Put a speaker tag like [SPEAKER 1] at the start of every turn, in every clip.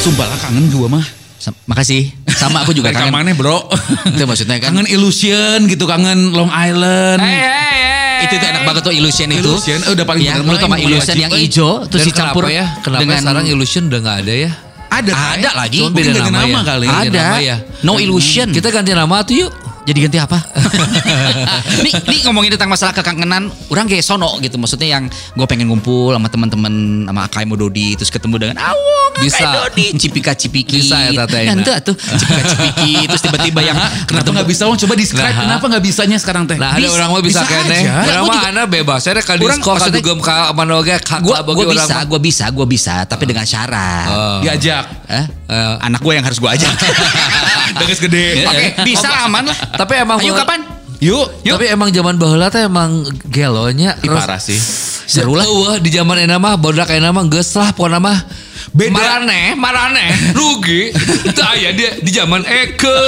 [SPEAKER 1] Sumpah lah kangen gua mah.
[SPEAKER 2] Sam- Makasih. Sama aku juga kangen.
[SPEAKER 1] Rekamannya bro.
[SPEAKER 2] Itu maksudnya kan.
[SPEAKER 1] kangen Illusion gitu, kangen Long Island.
[SPEAKER 2] Hey, hey, hey. Itu tuh enak banget tuh illusion itu.
[SPEAKER 1] Illusion, eh, udah paling
[SPEAKER 2] ya,
[SPEAKER 1] bener
[SPEAKER 2] menurut
[SPEAKER 1] lagi,
[SPEAKER 2] sama
[SPEAKER 1] paling
[SPEAKER 2] illusion
[SPEAKER 1] wajib.
[SPEAKER 2] yang hijau terus
[SPEAKER 3] Dan
[SPEAKER 2] dicampur
[SPEAKER 3] kenapa ya? Kenapa
[SPEAKER 2] dengan
[SPEAKER 3] sekarang illusion udah nggak ada ya?
[SPEAKER 1] Ada,
[SPEAKER 2] Ada
[SPEAKER 1] Kak.
[SPEAKER 2] lagi.
[SPEAKER 1] Cuma beda nama, ya. kali.
[SPEAKER 2] ada.
[SPEAKER 3] Beda nama ya.
[SPEAKER 2] No illusion.
[SPEAKER 3] Kita ganti nama tuh yuk.
[SPEAKER 2] jadi ganti apa? nih, nih ngomongin tentang masalah kekangenan, orang kayak sono gitu. Maksudnya yang gue pengen ngumpul sama teman-teman sama Akai Dodi terus ketemu dengan Awong
[SPEAKER 3] Bisa.
[SPEAKER 2] Akai Dodi, cipika cipiki.
[SPEAKER 3] Bisa ya, Tata Ena.
[SPEAKER 2] Nanti atuh cipika cipiki terus tiba-tiba yang
[SPEAKER 1] Kenapa nggak bisa? Wong coba describe
[SPEAKER 3] Nah.
[SPEAKER 1] kenapa nggak bisanya sekarang teh?
[SPEAKER 3] Nah, ada
[SPEAKER 1] Bis-
[SPEAKER 3] orang mah bisa,
[SPEAKER 1] bisa
[SPEAKER 3] kene.
[SPEAKER 1] aja.
[SPEAKER 3] Orang
[SPEAKER 2] Gua
[SPEAKER 3] mah
[SPEAKER 2] juga-
[SPEAKER 3] anak bebas. Saya kan
[SPEAKER 2] Orang-
[SPEAKER 3] disko, kan
[SPEAKER 2] maksudnya-
[SPEAKER 3] dugem ka mana oge, ka
[SPEAKER 2] Gue
[SPEAKER 3] ka bagi orang Oh.
[SPEAKER 2] bisa,
[SPEAKER 3] mah.
[SPEAKER 2] gue bisa, gue bisa, tapi dengan syarat.
[SPEAKER 1] Diajak.
[SPEAKER 2] Eh?
[SPEAKER 3] Eh.
[SPEAKER 2] Anak gue yang harus gue ajak.
[SPEAKER 1] Dengan gede.
[SPEAKER 2] Oke, bisa lah, aman lah.
[SPEAKER 3] Tapi emang
[SPEAKER 2] Ayo
[SPEAKER 3] bener-
[SPEAKER 2] kapan?
[SPEAKER 1] Yuk, yuk.
[SPEAKER 3] Tapi emang zaman baheula teh emang gelonya
[SPEAKER 1] Ih, parah sih.
[SPEAKER 3] Seru lah. Eueuh, di zaman enak mah bodak enak mah geus lah pokona mah.
[SPEAKER 1] Beda.
[SPEAKER 3] Marane, marane, rugi. Itu aya dia di zaman Eke.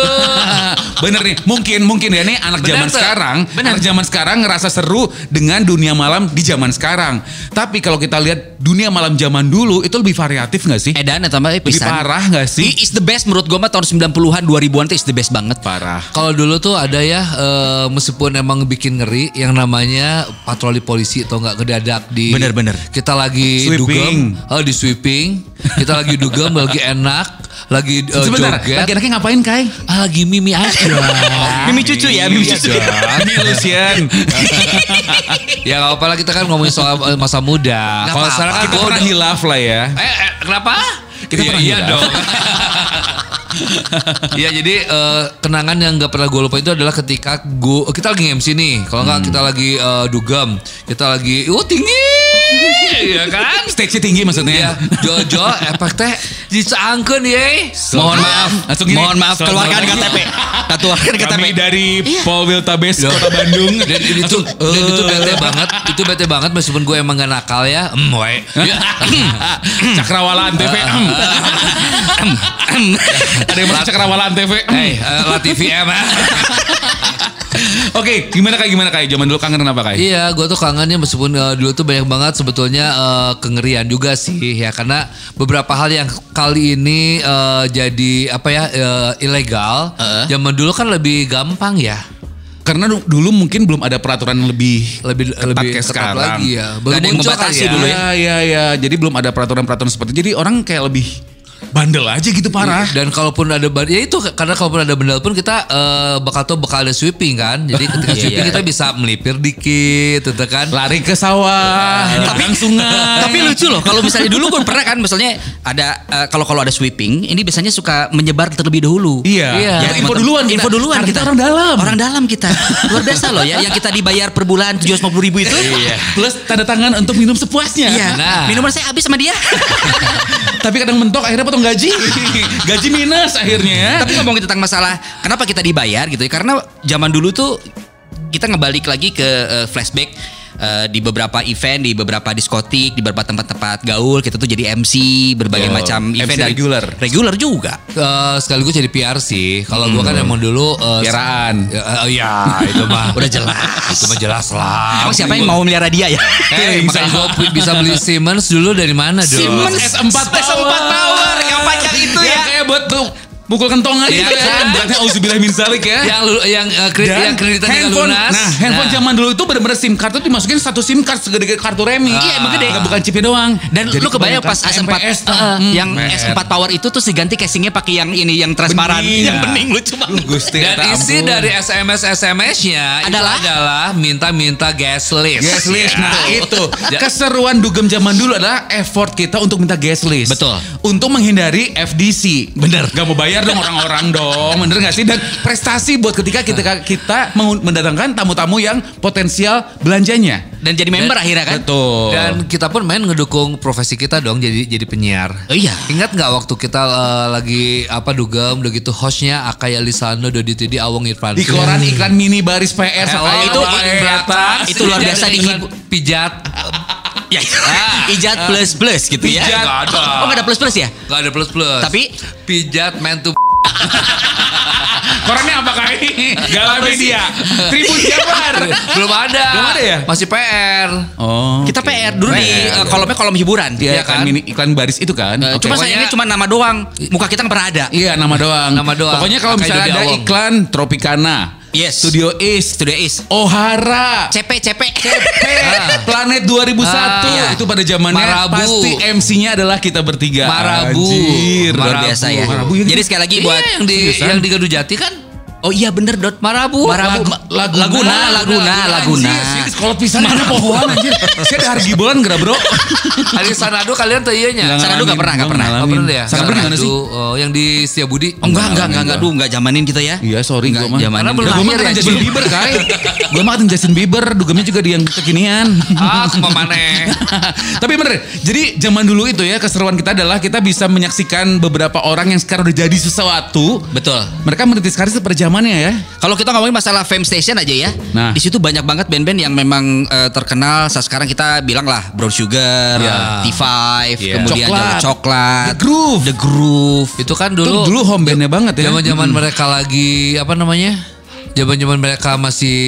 [SPEAKER 1] Bener nih, mungkin mungkin ya nih anak
[SPEAKER 3] Bener,
[SPEAKER 1] zaman
[SPEAKER 3] Teh.
[SPEAKER 1] sekarang,
[SPEAKER 3] Bener.
[SPEAKER 1] anak zaman sekarang ngerasa seru dengan dunia malam di zaman sekarang. Tapi kalau kita lihat dunia malam zaman dulu itu lebih variatif nggak sih?
[SPEAKER 2] Edan ya, atau apa?
[SPEAKER 1] lebih parah nggak sih?
[SPEAKER 2] Is the best menurut gue mah tahun 90-an 2000-an itu is the best banget.
[SPEAKER 1] Parah.
[SPEAKER 3] Kalau dulu tuh ada ya eh, meskipun emang bikin ngeri yang namanya patroli polisi atau enggak kedadak di
[SPEAKER 2] Bener, bener.
[SPEAKER 3] Kita lagi
[SPEAKER 1] Sweeping.
[SPEAKER 3] dugem, oh, di sweeping. Kita lagi dugem lagi enak, lagi eh,
[SPEAKER 1] Sebentar,
[SPEAKER 3] joget.
[SPEAKER 1] laki-laki ngapain Kai?
[SPEAKER 3] Ah, lagi mimi aja.
[SPEAKER 1] Ah,
[SPEAKER 3] Iya,
[SPEAKER 2] Mimi cucu ya, mimi cucu.
[SPEAKER 1] Ini iya Lucian.
[SPEAKER 3] ya nggak apa-apa lah kita kan ngomongin soal eh, masa muda.
[SPEAKER 2] Nggak
[SPEAKER 3] Kalau
[SPEAKER 2] apa-apa,
[SPEAKER 3] sekarang kan
[SPEAKER 1] Kita
[SPEAKER 3] gua
[SPEAKER 1] pernah
[SPEAKER 3] udah-
[SPEAKER 1] hilaf lah ya.
[SPEAKER 3] Eh, eh, kenapa?
[SPEAKER 1] Kita
[SPEAKER 3] Iya,
[SPEAKER 1] pernah
[SPEAKER 3] iya
[SPEAKER 1] hilaf.
[SPEAKER 3] dong. Iya jadi eh, kenangan yang gak pernah gue lupa itu adalah ketika gua kita lagi MC nih, kalau nggak kita lagi eh, dugem, kita lagi, oh tinggi, ya kan?
[SPEAKER 1] Stage-nya tinggi maksudnya.
[SPEAKER 2] Iya.
[SPEAKER 3] Ya, Jojo, efek teh dicaangkeun ye.
[SPEAKER 2] Mohon maaf,
[SPEAKER 1] Langsung gini.
[SPEAKER 2] mohon maaf
[SPEAKER 1] Selamat
[SPEAKER 2] keluarkan
[SPEAKER 1] malam.
[SPEAKER 2] KTP. kan Kita keluarkan KTP.
[SPEAKER 1] Kami dari Polwiltabes Kota Bandung.
[SPEAKER 3] Dan ini tuh, dan itu bete banget, itu bete banget meskipun gue emang gak nakal ya, em we.
[SPEAKER 1] Cakrawala Antv. Hmm. ah. Ada yang masuk Cakrawala Antv.
[SPEAKER 3] Eh, eh, Latifi em.
[SPEAKER 1] Oke, gimana kayak gimana kayak zaman dulu kangen apa kayak?
[SPEAKER 3] Iya, gue tuh kangennya meskipun eh, dulu tuh banyak banget sebetulnya eh, kengerian juga sih ya karena beberapa hal yang kali ini eh, jadi apa ya eh, ilegal. Zaman dulu kan lebih gampang ya,
[SPEAKER 1] Karena du- dulu mungkin belum ada peraturan yang lebih
[SPEAKER 3] lebih lebih
[SPEAKER 1] kayak
[SPEAKER 3] ketat
[SPEAKER 1] sekarang.
[SPEAKER 3] lagi ya.
[SPEAKER 2] Nggak ada yang
[SPEAKER 3] muncul kan
[SPEAKER 2] membatasi
[SPEAKER 3] kali
[SPEAKER 2] dulu ya.
[SPEAKER 1] Iya, iya, iya. Jadi belum ada peraturan-peraturan seperti Jadi orang kayak lebih bandel aja gitu parah.
[SPEAKER 3] Dan kalaupun ada ban- ya itu karena kalaupun ada benda pun kita eh, bakal tuh bakal ada sweeping kan. Jadi ketika
[SPEAKER 2] Iya,
[SPEAKER 3] sweeping
[SPEAKER 2] iya.
[SPEAKER 3] kita bisa melipir dikit, gitu kan. Iya.
[SPEAKER 1] Lari ke sawah, Ah, tapi sungai.
[SPEAKER 2] Tapi lucu loh kalau misalnya dulu pun pernah kan misalnya ada eh, kalau kalau ada sweeping ini biasanya suka menyebar terlebih dahulu.
[SPEAKER 1] Iya.
[SPEAKER 3] Iya.
[SPEAKER 1] Dapat info duluan kita.
[SPEAKER 2] Info duluan
[SPEAKER 1] Karena kita orang dalam.
[SPEAKER 2] Orang dalam kita. Luar biasa loh ya yang kita dibayar per bulan 750 ribu itu. Iya.
[SPEAKER 1] Plus tanda tangan untuk minum sepuasnya.
[SPEAKER 2] Iya.
[SPEAKER 3] Nah.
[SPEAKER 2] Minuman saya habis sama dia.
[SPEAKER 1] Tapi kadang mentok akhirnya potong gaji. gaji minus akhirnya ya.
[SPEAKER 2] Tapi ngomongin tentang masalah kenapa kita dibayar gitu ya karena zaman dulu tuh kita ngebalik lagi ke eh, flashback eh, di beberapa event, di beberapa diskotik, di beberapa tempat-tempat gaul kita tuh jadi MC berbagai
[SPEAKER 1] Yo,
[SPEAKER 2] macam
[SPEAKER 1] MC
[SPEAKER 2] event dan-
[SPEAKER 1] regular.
[SPEAKER 2] regular juga.
[SPEAKER 3] Eh, sekaligus jadi PR sih. Kalau gua
[SPEAKER 1] Hmm.
[SPEAKER 3] kan emang dulu eh,
[SPEAKER 1] Piaraan.
[SPEAKER 3] Ya, eh, iya, itu mah
[SPEAKER 2] Udah jelas.
[SPEAKER 3] Itu mah jelas lah.
[SPEAKER 2] Emang siapa yang mau melihara dia ya?
[SPEAKER 3] Eh, makanya gua pu- bisa beli Siemens dulu dari mana dong?
[SPEAKER 1] Siemens S4
[SPEAKER 2] S4 Power yang panjang itu ya.
[SPEAKER 1] Yang Iya, kayak buat tuh pukul kentongan
[SPEAKER 3] Iya
[SPEAKER 1] gitu ya.
[SPEAKER 3] kan?
[SPEAKER 1] Bukannya auzubillah min zalik ya.
[SPEAKER 3] Yang lu, yang eh, kredit
[SPEAKER 1] Dan
[SPEAKER 3] yang kreditan tinggal
[SPEAKER 1] handphone,
[SPEAKER 3] lunas.
[SPEAKER 1] nah handphone zaman dulu itu bener-bener SIM card tuh dimasukin satu SIM card segede-gede kartu remi.
[SPEAKER 2] Iya, emang gede.
[SPEAKER 1] Nggak bukan chipnya doang.
[SPEAKER 2] Dan lu kebayang pas S4
[SPEAKER 1] MPS,
[SPEAKER 2] eh, eh, yang
[SPEAKER 1] Mm,
[SPEAKER 2] S4 Power itu terus diganti casingnya pakai yang ini yang transparan,
[SPEAKER 1] Bening.
[SPEAKER 2] yang bening lucu banget.
[SPEAKER 1] Gusti,
[SPEAKER 3] Dan
[SPEAKER 1] ya
[SPEAKER 3] isi
[SPEAKER 1] ampun.
[SPEAKER 3] dari SMS SMS-nya
[SPEAKER 2] Adalah?
[SPEAKER 3] itu adalah minta-minta gas list.
[SPEAKER 1] Guest list.
[SPEAKER 3] Ya.
[SPEAKER 1] Nah itu
[SPEAKER 3] Ja-
[SPEAKER 1] keseruan dugem zaman dulu adalah effort kita untuk minta guest list.
[SPEAKER 2] Betul.
[SPEAKER 1] Untuk menghindari FDC.
[SPEAKER 2] Bener.
[SPEAKER 1] Gak mau bayar dong orang-orang dong. Bener gak sih? Dan prestasi buat ketika kita
[SPEAKER 2] Nah.
[SPEAKER 1] kita mengu- mendatangkan tamu-tamu yang potensial belanjanya. Ya
[SPEAKER 2] Dan jadi member akhirnya kan?
[SPEAKER 1] Betul.
[SPEAKER 3] Dan kita pun main ngedukung profesi kita dong jadi jadi penyiar.
[SPEAKER 2] Oh iya.
[SPEAKER 3] Ingat nggak waktu kita eh, lagi apa dugem udah gitu hostnya Akaya Lisano Dodi Tidi Awang Irfan. Iya.
[SPEAKER 1] di koran iklan mini baris PR
[SPEAKER 3] Eh,
[SPEAKER 1] sama
[SPEAKER 3] oh,
[SPEAKER 1] itu
[SPEAKER 3] itu paling belakang.
[SPEAKER 2] itu luar
[SPEAKER 3] Pijat
[SPEAKER 2] biasa
[SPEAKER 3] dan
[SPEAKER 2] dihibur.
[SPEAKER 3] iklan Pijat.
[SPEAKER 2] Ya, ijat plus plus gitu ya.
[SPEAKER 3] Ijat. Nggak ada.
[SPEAKER 2] Oh nggak ada plus plus ya?
[SPEAKER 3] Gak ada plus plus.
[SPEAKER 2] Tapi-
[SPEAKER 3] pijat mentu
[SPEAKER 1] Korannya apakah ini? Galamedia. Tribun Jabar.
[SPEAKER 3] Belum ada.
[SPEAKER 1] Belum ada ya?
[SPEAKER 3] Masih PR.
[SPEAKER 1] Oh.
[SPEAKER 2] Kita PR dulu di eh, kolomnya kolom hiburan. ya
[SPEAKER 1] Iya
[SPEAKER 3] Iya kan?
[SPEAKER 1] kan mini iklan baris itu kan.
[SPEAKER 2] Eh,
[SPEAKER 1] Oke.
[SPEAKER 2] Cuma
[SPEAKER 3] Pokoknya-
[SPEAKER 2] sayangnya cuma nama doang. Muka kita nggak pernah ada.
[SPEAKER 1] Iya nama doang.
[SPEAKER 3] Nama doang.
[SPEAKER 1] Pokoknya kalau
[SPEAKER 3] Kayak
[SPEAKER 1] misalnya
[SPEAKER 3] Dodi
[SPEAKER 1] ada
[SPEAKER 3] Awong.
[SPEAKER 1] iklan Tropicana,
[SPEAKER 2] Yes.
[SPEAKER 1] Studio East,
[SPEAKER 2] Studio Is.
[SPEAKER 1] Ohara,
[SPEAKER 2] CP CP.
[SPEAKER 1] CP, Planet 2001
[SPEAKER 3] Ah,
[SPEAKER 1] itu pada zamannya
[SPEAKER 3] Marabu.
[SPEAKER 1] pasti MC-nya adalah kita bertiga.
[SPEAKER 3] Marabu.
[SPEAKER 1] Anjir,
[SPEAKER 2] Luar
[SPEAKER 1] Marabu.
[SPEAKER 2] biasa ya.
[SPEAKER 1] Marabu ya.
[SPEAKER 2] Jadi sekali lagi
[SPEAKER 3] Iya,
[SPEAKER 2] buat
[SPEAKER 3] yang di
[SPEAKER 1] seriusan.
[SPEAKER 3] yang di Gardu Jati kan
[SPEAKER 2] Oh iya bener Dot.
[SPEAKER 3] Marabu.
[SPEAKER 2] Marabu.
[SPEAKER 3] Lagu-
[SPEAKER 2] Laguna, Laguna, Iya, Laguna.
[SPEAKER 1] Iya,
[SPEAKER 2] Laguna.
[SPEAKER 1] Kalau pisan mana pohon anjir. Saya ada hargibolan gerak bro.
[SPEAKER 3] Ada Sanadu kalian tuh iya iyanya.
[SPEAKER 2] Sanadu nggak pernah, nggak pernah.
[SPEAKER 3] Apa pernah ya?
[SPEAKER 1] Sanadu
[SPEAKER 3] Sanadu,
[SPEAKER 1] gimana sih?
[SPEAKER 3] eh, yang di Setiabudi.
[SPEAKER 2] Oh, enggak, enggak, enggak, enggak, duh, enggak zamanin kita ya.
[SPEAKER 1] Iya sorry gue
[SPEAKER 2] Enggak
[SPEAKER 1] mah.
[SPEAKER 2] zamanin.
[SPEAKER 3] Karena belum
[SPEAKER 1] Gue mah
[SPEAKER 3] lahir
[SPEAKER 1] kan
[SPEAKER 3] ya,
[SPEAKER 1] Justin
[SPEAKER 3] cuy.
[SPEAKER 1] Bieber kai. Gue mah kan Justin Bieber. Dugamnya juga di yang kekinian.
[SPEAKER 3] Ah, aku maneh.
[SPEAKER 1] Tapi bener, jadi zaman dulu itu ya keseruan kita adalah kita bisa menyaksikan beberapa orang yang sekarang udah jadi sesuatu.
[SPEAKER 2] Betul.
[SPEAKER 1] Mereka menitis karir pada zamannya ya.
[SPEAKER 2] Kalau kita ngomongin masalah fame station aja ya,
[SPEAKER 1] Nah.
[SPEAKER 2] di situ banyak banget band-band yang memang eh, terkenal. Saat sekarang kita bilang lah Brown Sugar,
[SPEAKER 3] Ya.
[SPEAKER 2] T5,
[SPEAKER 3] Iya.
[SPEAKER 2] kemudian
[SPEAKER 1] Coklat.
[SPEAKER 2] Jalur Coklat,
[SPEAKER 1] The Groove.
[SPEAKER 2] The Groove.
[SPEAKER 3] Itu kan
[SPEAKER 1] Itu
[SPEAKER 3] dulu
[SPEAKER 1] dulu home bandnya banget ya.
[SPEAKER 3] Zaman-zaman mereka lagi apa namanya? Zaman-zaman mereka masih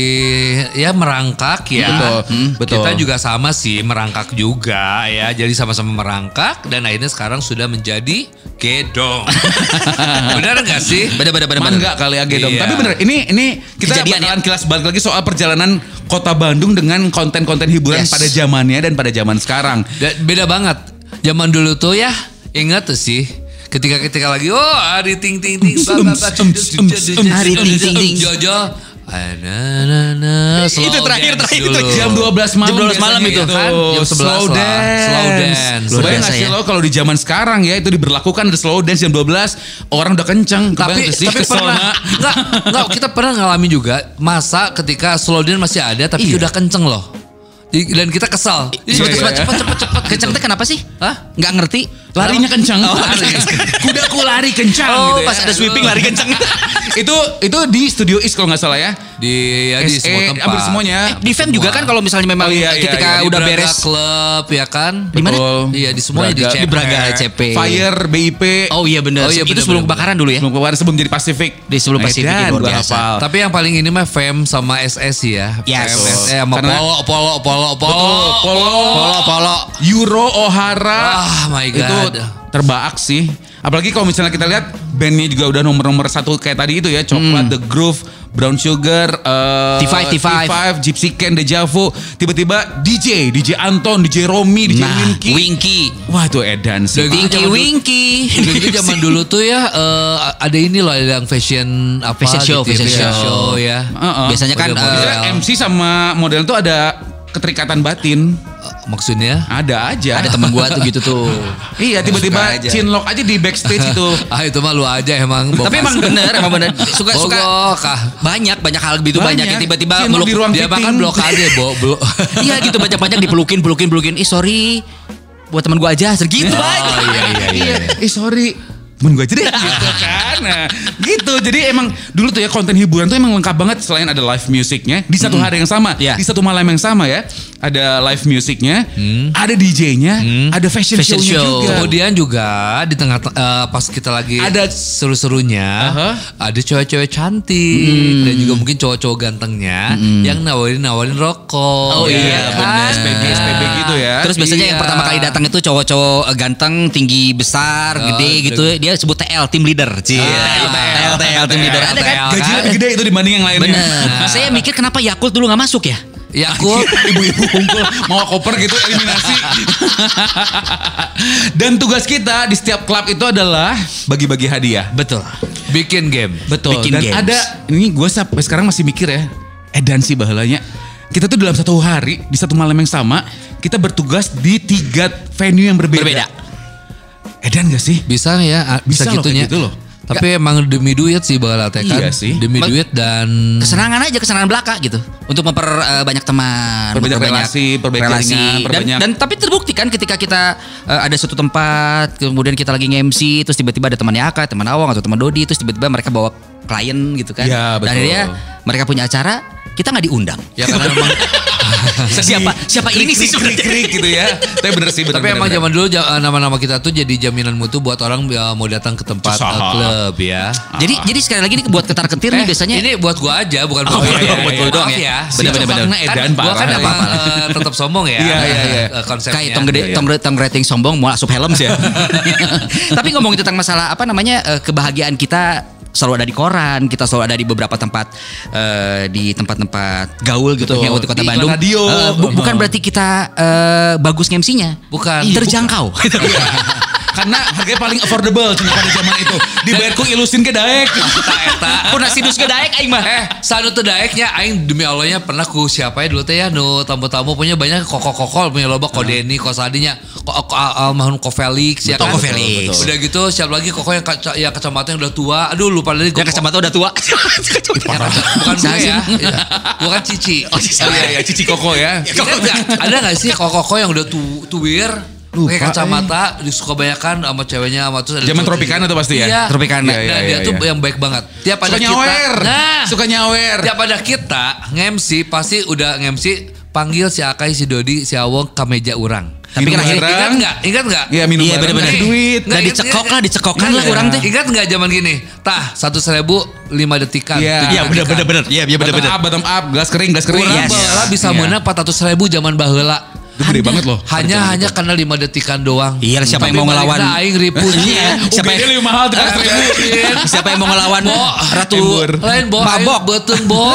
[SPEAKER 3] ya merangkak ya.
[SPEAKER 1] Betul,
[SPEAKER 3] Hmm.
[SPEAKER 1] betul.
[SPEAKER 3] Kita juga sama sih merangkak juga ya. Jadi sama-sama merangkak dan akhirnya sekarang sudah menjadi gedong. Benar nggak sih?
[SPEAKER 2] Bener-bener bener.
[SPEAKER 1] Mangga kali ya Gedong.
[SPEAKER 3] Iya.
[SPEAKER 1] Tapi bener, ini ini kita
[SPEAKER 2] Kejadian ya.
[SPEAKER 1] bakalan kilas balik lagi soal perjalanan kota Bandung dengan konten-konten hiburan
[SPEAKER 2] Yes.
[SPEAKER 1] pada zamannya dan pada zaman sekarang.
[SPEAKER 3] Da- beda banget. Zaman dulu tuh ya, ingat tuh sih. Ketika ketika lagi oh hari ting ting ting
[SPEAKER 1] Ems,
[SPEAKER 3] bla, bla,
[SPEAKER 1] ems,
[SPEAKER 3] bla,
[SPEAKER 1] ems,
[SPEAKER 3] jujur,
[SPEAKER 1] ems,
[SPEAKER 3] jujur,
[SPEAKER 1] ems.
[SPEAKER 3] jujur,
[SPEAKER 2] Hari ting, ting, ting.
[SPEAKER 3] Jojo. Ah, Na, na, na, slow
[SPEAKER 2] Itu terakhir,
[SPEAKER 3] dance
[SPEAKER 2] terakhir,
[SPEAKER 3] dulu.
[SPEAKER 2] itu
[SPEAKER 1] Jam 12 malam.
[SPEAKER 2] Jam 12 malam
[SPEAKER 1] biasanya
[SPEAKER 2] itu. Oh,
[SPEAKER 1] kan.
[SPEAKER 3] Jam 11
[SPEAKER 1] slow
[SPEAKER 3] lah.
[SPEAKER 1] dance. Lu
[SPEAKER 3] Slow dance.
[SPEAKER 2] Luar
[SPEAKER 1] bayangin
[SPEAKER 2] biasa
[SPEAKER 1] nggak sih
[SPEAKER 2] ya.
[SPEAKER 1] lo kalau di zaman sekarang ya itu diberlakukan ada slow dance jam 12 orang udah kenceng.
[SPEAKER 3] tapi
[SPEAKER 1] Kebayang nggak sih
[SPEAKER 3] tapi pernah
[SPEAKER 1] pesona?
[SPEAKER 3] enggak, enggak kita pernah ngalamin juga masa ketika slow dance masih ada tapi
[SPEAKER 1] Iya.
[SPEAKER 3] udah kenceng loh. I- Dan kita kesal. Ih,
[SPEAKER 1] Iya,
[SPEAKER 2] Cepet,
[SPEAKER 1] iya.
[SPEAKER 3] cepet,
[SPEAKER 2] cepet,
[SPEAKER 3] cepet, cepet.
[SPEAKER 2] cepet, cepet, cepet. Kenceng teh kenapa sih?
[SPEAKER 3] Hah?
[SPEAKER 2] Nggak ngerti.
[SPEAKER 1] Larinya kencang.
[SPEAKER 2] Oh,
[SPEAKER 1] Lari. Kudaku lari kencang
[SPEAKER 2] Oh,
[SPEAKER 1] gitu ya.
[SPEAKER 2] pas ada sweeping lari kenceng.
[SPEAKER 1] itu itu di studio East kalau nggak salah ya.
[SPEAKER 3] Di ya, di
[SPEAKER 1] SE,
[SPEAKER 3] semua tempat.
[SPEAKER 1] Hampir semuanya.
[SPEAKER 2] Eh, di fame juga kan kalau misalnya memang
[SPEAKER 1] Oh, iya, iya,
[SPEAKER 2] ketika
[SPEAKER 1] iya, di
[SPEAKER 2] udah
[SPEAKER 3] Braga
[SPEAKER 2] beres.
[SPEAKER 3] klub ya kan?
[SPEAKER 2] Di mana?
[SPEAKER 1] Betul.
[SPEAKER 3] Iya, di semuanya di
[SPEAKER 1] Braga.
[SPEAKER 2] Di
[SPEAKER 3] CP.
[SPEAKER 2] Iya. Braga CP.
[SPEAKER 1] Fire, BIP.
[SPEAKER 2] Oh iya bener.
[SPEAKER 3] Oh, iya,
[SPEAKER 2] itu
[SPEAKER 3] bener,
[SPEAKER 2] sebelum
[SPEAKER 3] bener,
[SPEAKER 2] kebakaran dulu ya.
[SPEAKER 1] Sebelum kemarin sebelum jadi Pasifik.
[SPEAKER 2] Di sebelum Pasifik,
[SPEAKER 1] Medan,
[SPEAKER 2] ya, luar
[SPEAKER 1] gua
[SPEAKER 2] biasa.
[SPEAKER 1] hafal.
[SPEAKER 3] Tapi yang paling ini mah fam sama SS sih ya.
[SPEAKER 2] Yes.
[SPEAKER 3] Fam, SS sama
[SPEAKER 1] Karena-
[SPEAKER 3] Polo, Polo, Polo, Polo.
[SPEAKER 1] Betul, Oh, Polo.
[SPEAKER 3] Polo, Polo.
[SPEAKER 1] Euro O'Hara.
[SPEAKER 3] Ah, my God.
[SPEAKER 1] Itu terbaak sih. Apalagi kalau misalnya kita lihat bandnya juga udah nomor-nomor satu kayak tadi itu ya.
[SPEAKER 2] Hmm.
[SPEAKER 1] Coklat, The Groove, Brown Sugar, eh,
[SPEAKER 2] T5, T5.
[SPEAKER 1] Gypsy Ken, Deja Vu. Tiba-tiba DJ, DJ Anton, DJ Romi, DJ
[SPEAKER 2] Nah,
[SPEAKER 1] Winky.
[SPEAKER 2] Winky.
[SPEAKER 1] Wah itu edan sih.
[SPEAKER 3] Dari-
[SPEAKER 2] Winky,
[SPEAKER 3] Zaman dulu-
[SPEAKER 2] Winky.
[SPEAKER 3] Udah gitu zaman dulu tuh ya eh, ada ini loh ada yang fashion apa
[SPEAKER 2] Fashion show,
[SPEAKER 3] gitu ya,
[SPEAKER 2] fashion show.
[SPEAKER 3] ya.
[SPEAKER 1] Heeh.
[SPEAKER 2] Biasanya kan
[SPEAKER 3] Model-model.
[SPEAKER 2] eh,
[SPEAKER 1] Biasanya MC sama model tuh ada keterikatan batin.
[SPEAKER 3] Eh, Maksudnya
[SPEAKER 1] Ada aja.
[SPEAKER 2] ada temen gua tuh gitu tuh.
[SPEAKER 1] Iya
[SPEAKER 2] Suka
[SPEAKER 1] tiba-tiba
[SPEAKER 2] aja.
[SPEAKER 1] chinlock aja di backstage itu.
[SPEAKER 3] ah itu mah lu aja emang.
[SPEAKER 2] Tapi emang bener, emang bener. Suka suka
[SPEAKER 3] Bogok, ah. Iya,
[SPEAKER 2] banyak banyak hal gitu banyak,
[SPEAKER 1] Banyak.
[SPEAKER 2] yang tiba-tiba
[SPEAKER 1] Cien lu di ruang
[SPEAKER 3] dia
[SPEAKER 1] fitting.
[SPEAKER 3] bahkan blokade, bo, blok.
[SPEAKER 2] Iya gitu banyak-banyak dipelukin pelukin pelukin. Ih sorry buat teman gua aja segitu
[SPEAKER 1] Ah,
[SPEAKER 2] banyak.
[SPEAKER 3] iya, iya, iya.
[SPEAKER 1] Eh sorry temen gue aja deh gitu kan nah, gitu jadi emang dulu tuh ya konten hiburan tuh emang lengkap banget selain ada live musiknya di satu hari yang sama
[SPEAKER 2] Iya.
[SPEAKER 1] di satu malam yang sama ya ada live musiknya ada DJ-nya ada fashion,
[SPEAKER 2] Fashion
[SPEAKER 1] show-nya
[SPEAKER 2] show.
[SPEAKER 1] juga
[SPEAKER 3] Kemudian juga di tengah eh, pas kita lagi
[SPEAKER 1] Ada-
[SPEAKER 3] seru-serunya,
[SPEAKER 1] Aha.
[SPEAKER 3] ada cewek-cewek cantik dan juga mungkin cowok-cowok gantengnya yang nawarin-nawarin rokok. Ya,
[SPEAKER 2] Oh iya, bener.
[SPEAKER 1] SPB SPB gitu ya
[SPEAKER 2] Terus biasanya yang
[SPEAKER 3] Iya.
[SPEAKER 2] pertama kali datang itu cowok-cowok eh, ganteng, tinggi, besar,
[SPEAKER 3] Oh,
[SPEAKER 2] gede gitu. Dia sebut TL, tim leader. Cie.
[SPEAKER 1] Ah,
[SPEAKER 3] TL,
[SPEAKER 2] TL, TL, tim
[SPEAKER 3] TL,
[SPEAKER 2] leader. Ada kan?
[SPEAKER 3] TL.
[SPEAKER 1] gajinya lebih gede itu dibanding yang lainnya
[SPEAKER 2] Bener. Saya mikir kenapa Yakult dulu nggak masuk ya?
[SPEAKER 3] Ya aku
[SPEAKER 1] ibu-ibu kumpul mau koper gitu eliminasi. Dan tugas kita di setiap klub itu adalah bagi-bagi hadiah.
[SPEAKER 2] Betul.
[SPEAKER 3] bikin game.
[SPEAKER 1] Betul.
[SPEAKER 2] Bikin
[SPEAKER 1] dan
[SPEAKER 2] games.
[SPEAKER 1] ada ini gue sampai sekarang masih mikir ya. Edan sih bahalanya. Kita tuh dalam satu hari di satu malam yang sama kita bertugas di tiga venue yang berbeda.
[SPEAKER 2] Berbeda.
[SPEAKER 1] Edan gak sih?
[SPEAKER 3] Bisa ya, a-
[SPEAKER 1] Bisa
[SPEAKER 3] bisa,
[SPEAKER 1] loh,
[SPEAKER 3] gitunya.
[SPEAKER 1] kayak gitu loh.
[SPEAKER 3] Tapi emang demi duit sih bakal kan.
[SPEAKER 1] Iya sih.
[SPEAKER 3] Demi
[SPEAKER 2] Bang-
[SPEAKER 3] duit dan
[SPEAKER 2] Kesenangan aja, kesenangan belaka gitu. Untuk memperbanyak teman.
[SPEAKER 1] Perbanyak
[SPEAKER 2] memperbanyak
[SPEAKER 1] relasi, perbanyak jaringan,
[SPEAKER 2] Dan,
[SPEAKER 1] perbanyak-
[SPEAKER 2] dan tapi terbukti kan ketika kita eh, ada suatu tempat, kemudian kita lagi nge-MC, terus tiba-tiba ada teman Yaka, teman Awang, atau teman Dodi, terus tiba-tiba mereka bawa klien gitu kan. Dan
[SPEAKER 1] Iya, betul.
[SPEAKER 2] akhirnya mereka punya acara, kita nggak diundang.
[SPEAKER 3] ya karena memang
[SPEAKER 2] siapa siapa ini sih
[SPEAKER 1] krik,
[SPEAKER 2] sebenarnya?
[SPEAKER 1] krik gitu ya. Tapi bener sih bener.
[SPEAKER 3] Tapi
[SPEAKER 1] bener,
[SPEAKER 3] emang
[SPEAKER 1] bener.
[SPEAKER 3] zaman dulu ja- eh, nama-nama kita tuh jadi jaminan mutu buat orang eh, mau datang ke tempat eh,
[SPEAKER 1] Usaha.
[SPEAKER 3] klub ya.
[SPEAKER 2] Jadi jadi sekali lagi ini buat ketar ketir nih
[SPEAKER 3] Eh,
[SPEAKER 2] Kan biasanya.
[SPEAKER 3] ini buat gua aja bukan
[SPEAKER 2] Oh, iya, iya,
[SPEAKER 3] buat
[SPEAKER 2] iya.
[SPEAKER 3] lu doang
[SPEAKER 2] Maaf ya.
[SPEAKER 3] ya.
[SPEAKER 2] Bener, bener, bener.
[SPEAKER 1] Karena edan
[SPEAKER 3] Kan, gua
[SPEAKER 1] parah.
[SPEAKER 3] kan
[SPEAKER 1] Iya,
[SPEAKER 3] emang eh, tetap sombong ya.
[SPEAKER 1] Iya, iya, iya.
[SPEAKER 3] eh, Konsepnya.
[SPEAKER 2] Kayak tong gede,
[SPEAKER 1] Iya, iya.
[SPEAKER 2] tong, tong rating sombong mau asup helm sih ya. Tapi ngomongin tentang masalah apa namanya eh, kebahagiaan kita selalu ada di koran, kita selalu ada di beberapa tempat eh, di tempat-tempat gaul gitu
[SPEAKER 1] Betul.
[SPEAKER 2] yang di kota
[SPEAKER 1] Di iklan
[SPEAKER 2] Bandung.
[SPEAKER 1] radio.
[SPEAKER 2] Eh, bu- bukan berarti kita eh, bagus MC-nya.
[SPEAKER 3] Bukan.
[SPEAKER 2] Terjangkau. Iya.
[SPEAKER 1] Karena harganya paling affordable cuy pada zaman itu. Dibayar ku ilusin ke daek.
[SPEAKER 3] Eta, eta.
[SPEAKER 2] Pun sidus ke daek aing mah.
[SPEAKER 3] Eh, sanu tuh daeknya aing demi Allahnya pernah ku siapa ya dulu teh ya nu tamu-tamu punya banyak kokok-kokol punya loba ko Denny, ko Sadinya, ko, ko almarhum ko Felix ya
[SPEAKER 2] Betul, ko
[SPEAKER 3] kan.
[SPEAKER 2] Felix.
[SPEAKER 3] Betul, betul. Udah gitu siapa lagi kokok yang kaca, ya kacamata yang udah tua. Aduh lupa lagi
[SPEAKER 2] Dia kacamata udah tua.
[SPEAKER 3] bukan gue ya.
[SPEAKER 2] Sih.
[SPEAKER 3] ya. Bukan Cici.
[SPEAKER 2] Oh, Cici.
[SPEAKER 1] Oh iya iya cici koko ya.
[SPEAKER 3] Ingat nggak? ada gak sih koko-koko yang udah tu, tuwir
[SPEAKER 1] Lupa, eh.
[SPEAKER 3] pakai kacamata disuka banyakan sama ceweknya sama terus ada
[SPEAKER 1] Zaman
[SPEAKER 3] cowok-
[SPEAKER 1] Tropicana tuh pasti ya?
[SPEAKER 3] Iya.
[SPEAKER 1] Tropicana.
[SPEAKER 3] Nah,
[SPEAKER 1] Iya, iya,
[SPEAKER 3] dia
[SPEAKER 1] iya,
[SPEAKER 3] tuh
[SPEAKER 1] iya.
[SPEAKER 3] yang baik banget. Tiap
[SPEAKER 1] Suka
[SPEAKER 3] ada kita.
[SPEAKER 1] nyawer.
[SPEAKER 3] Nah,
[SPEAKER 1] Suka nyawer.
[SPEAKER 3] tiap ada kita nge-MC pasti udah nge-MC panggil si Akai, si Dodi, si Awong ke meja urang.
[SPEAKER 1] Tapi
[SPEAKER 3] Minum
[SPEAKER 1] kan akhirnya-
[SPEAKER 3] bareng. ingat nggak? Ingat nggak?
[SPEAKER 1] Iya, minum
[SPEAKER 2] Iya,
[SPEAKER 1] bareng,
[SPEAKER 2] bener-bener.
[SPEAKER 1] kasih duit.
[SPEAKER 2] Nah, dicekok lah, dicekokan lah orang teh.
[SPEAKER 3] Ingat nggak zaman gini? Tah, satu seribu lima detikan.
[SPEAKER 1] Iya.
[SPEAKER 3] tujuh
[SPEAKER 2] Iya bener
[SPEAKER 3] detikan.
[SPEAKER 2] bener bener. Iya iya bener
[SPEAKER 1] Bottom
[SPEAKER 2] bener.
[SPEAKER 1] up, bottom up, gelas kering, gelas kering.
[SPEAKER 3] Urang
[SPEAKER 2] Yes.
[SPEAKER 3] baheula bisa
[SPEAKER 1] Iya.
[SPEAKER 3] menang 400 ribu zaman baheula.
[SPEAKER 1] Itu gede banget loh.
[SPEAKER 3] Hanya hanya karena lima detikan doang.
[SPEAKER 2] Iya lah, siapa
[SPEAKER 3] Tapi
[SPEAKER 2] yang mau
[SPEAKER 3] balik
[SPEAKER 2] ngelawan?
[SPEAKER 3] na aing ribu.
[SPEAKER 2] Iya. Siapa
[SPEAKER 1] UGD
[SPEAKER 2] yang-
[SPEAKER 1] lebih mahal tuh kan?
[SPEAKER 2] Siapa yang mau ngelawan Ratu
[SPEAKER 1] Embur.
[SPEAKER 3] Lain bo,
[SPEAKER 2] Mabok.
[SPEAKER 3] aing beuteung bo.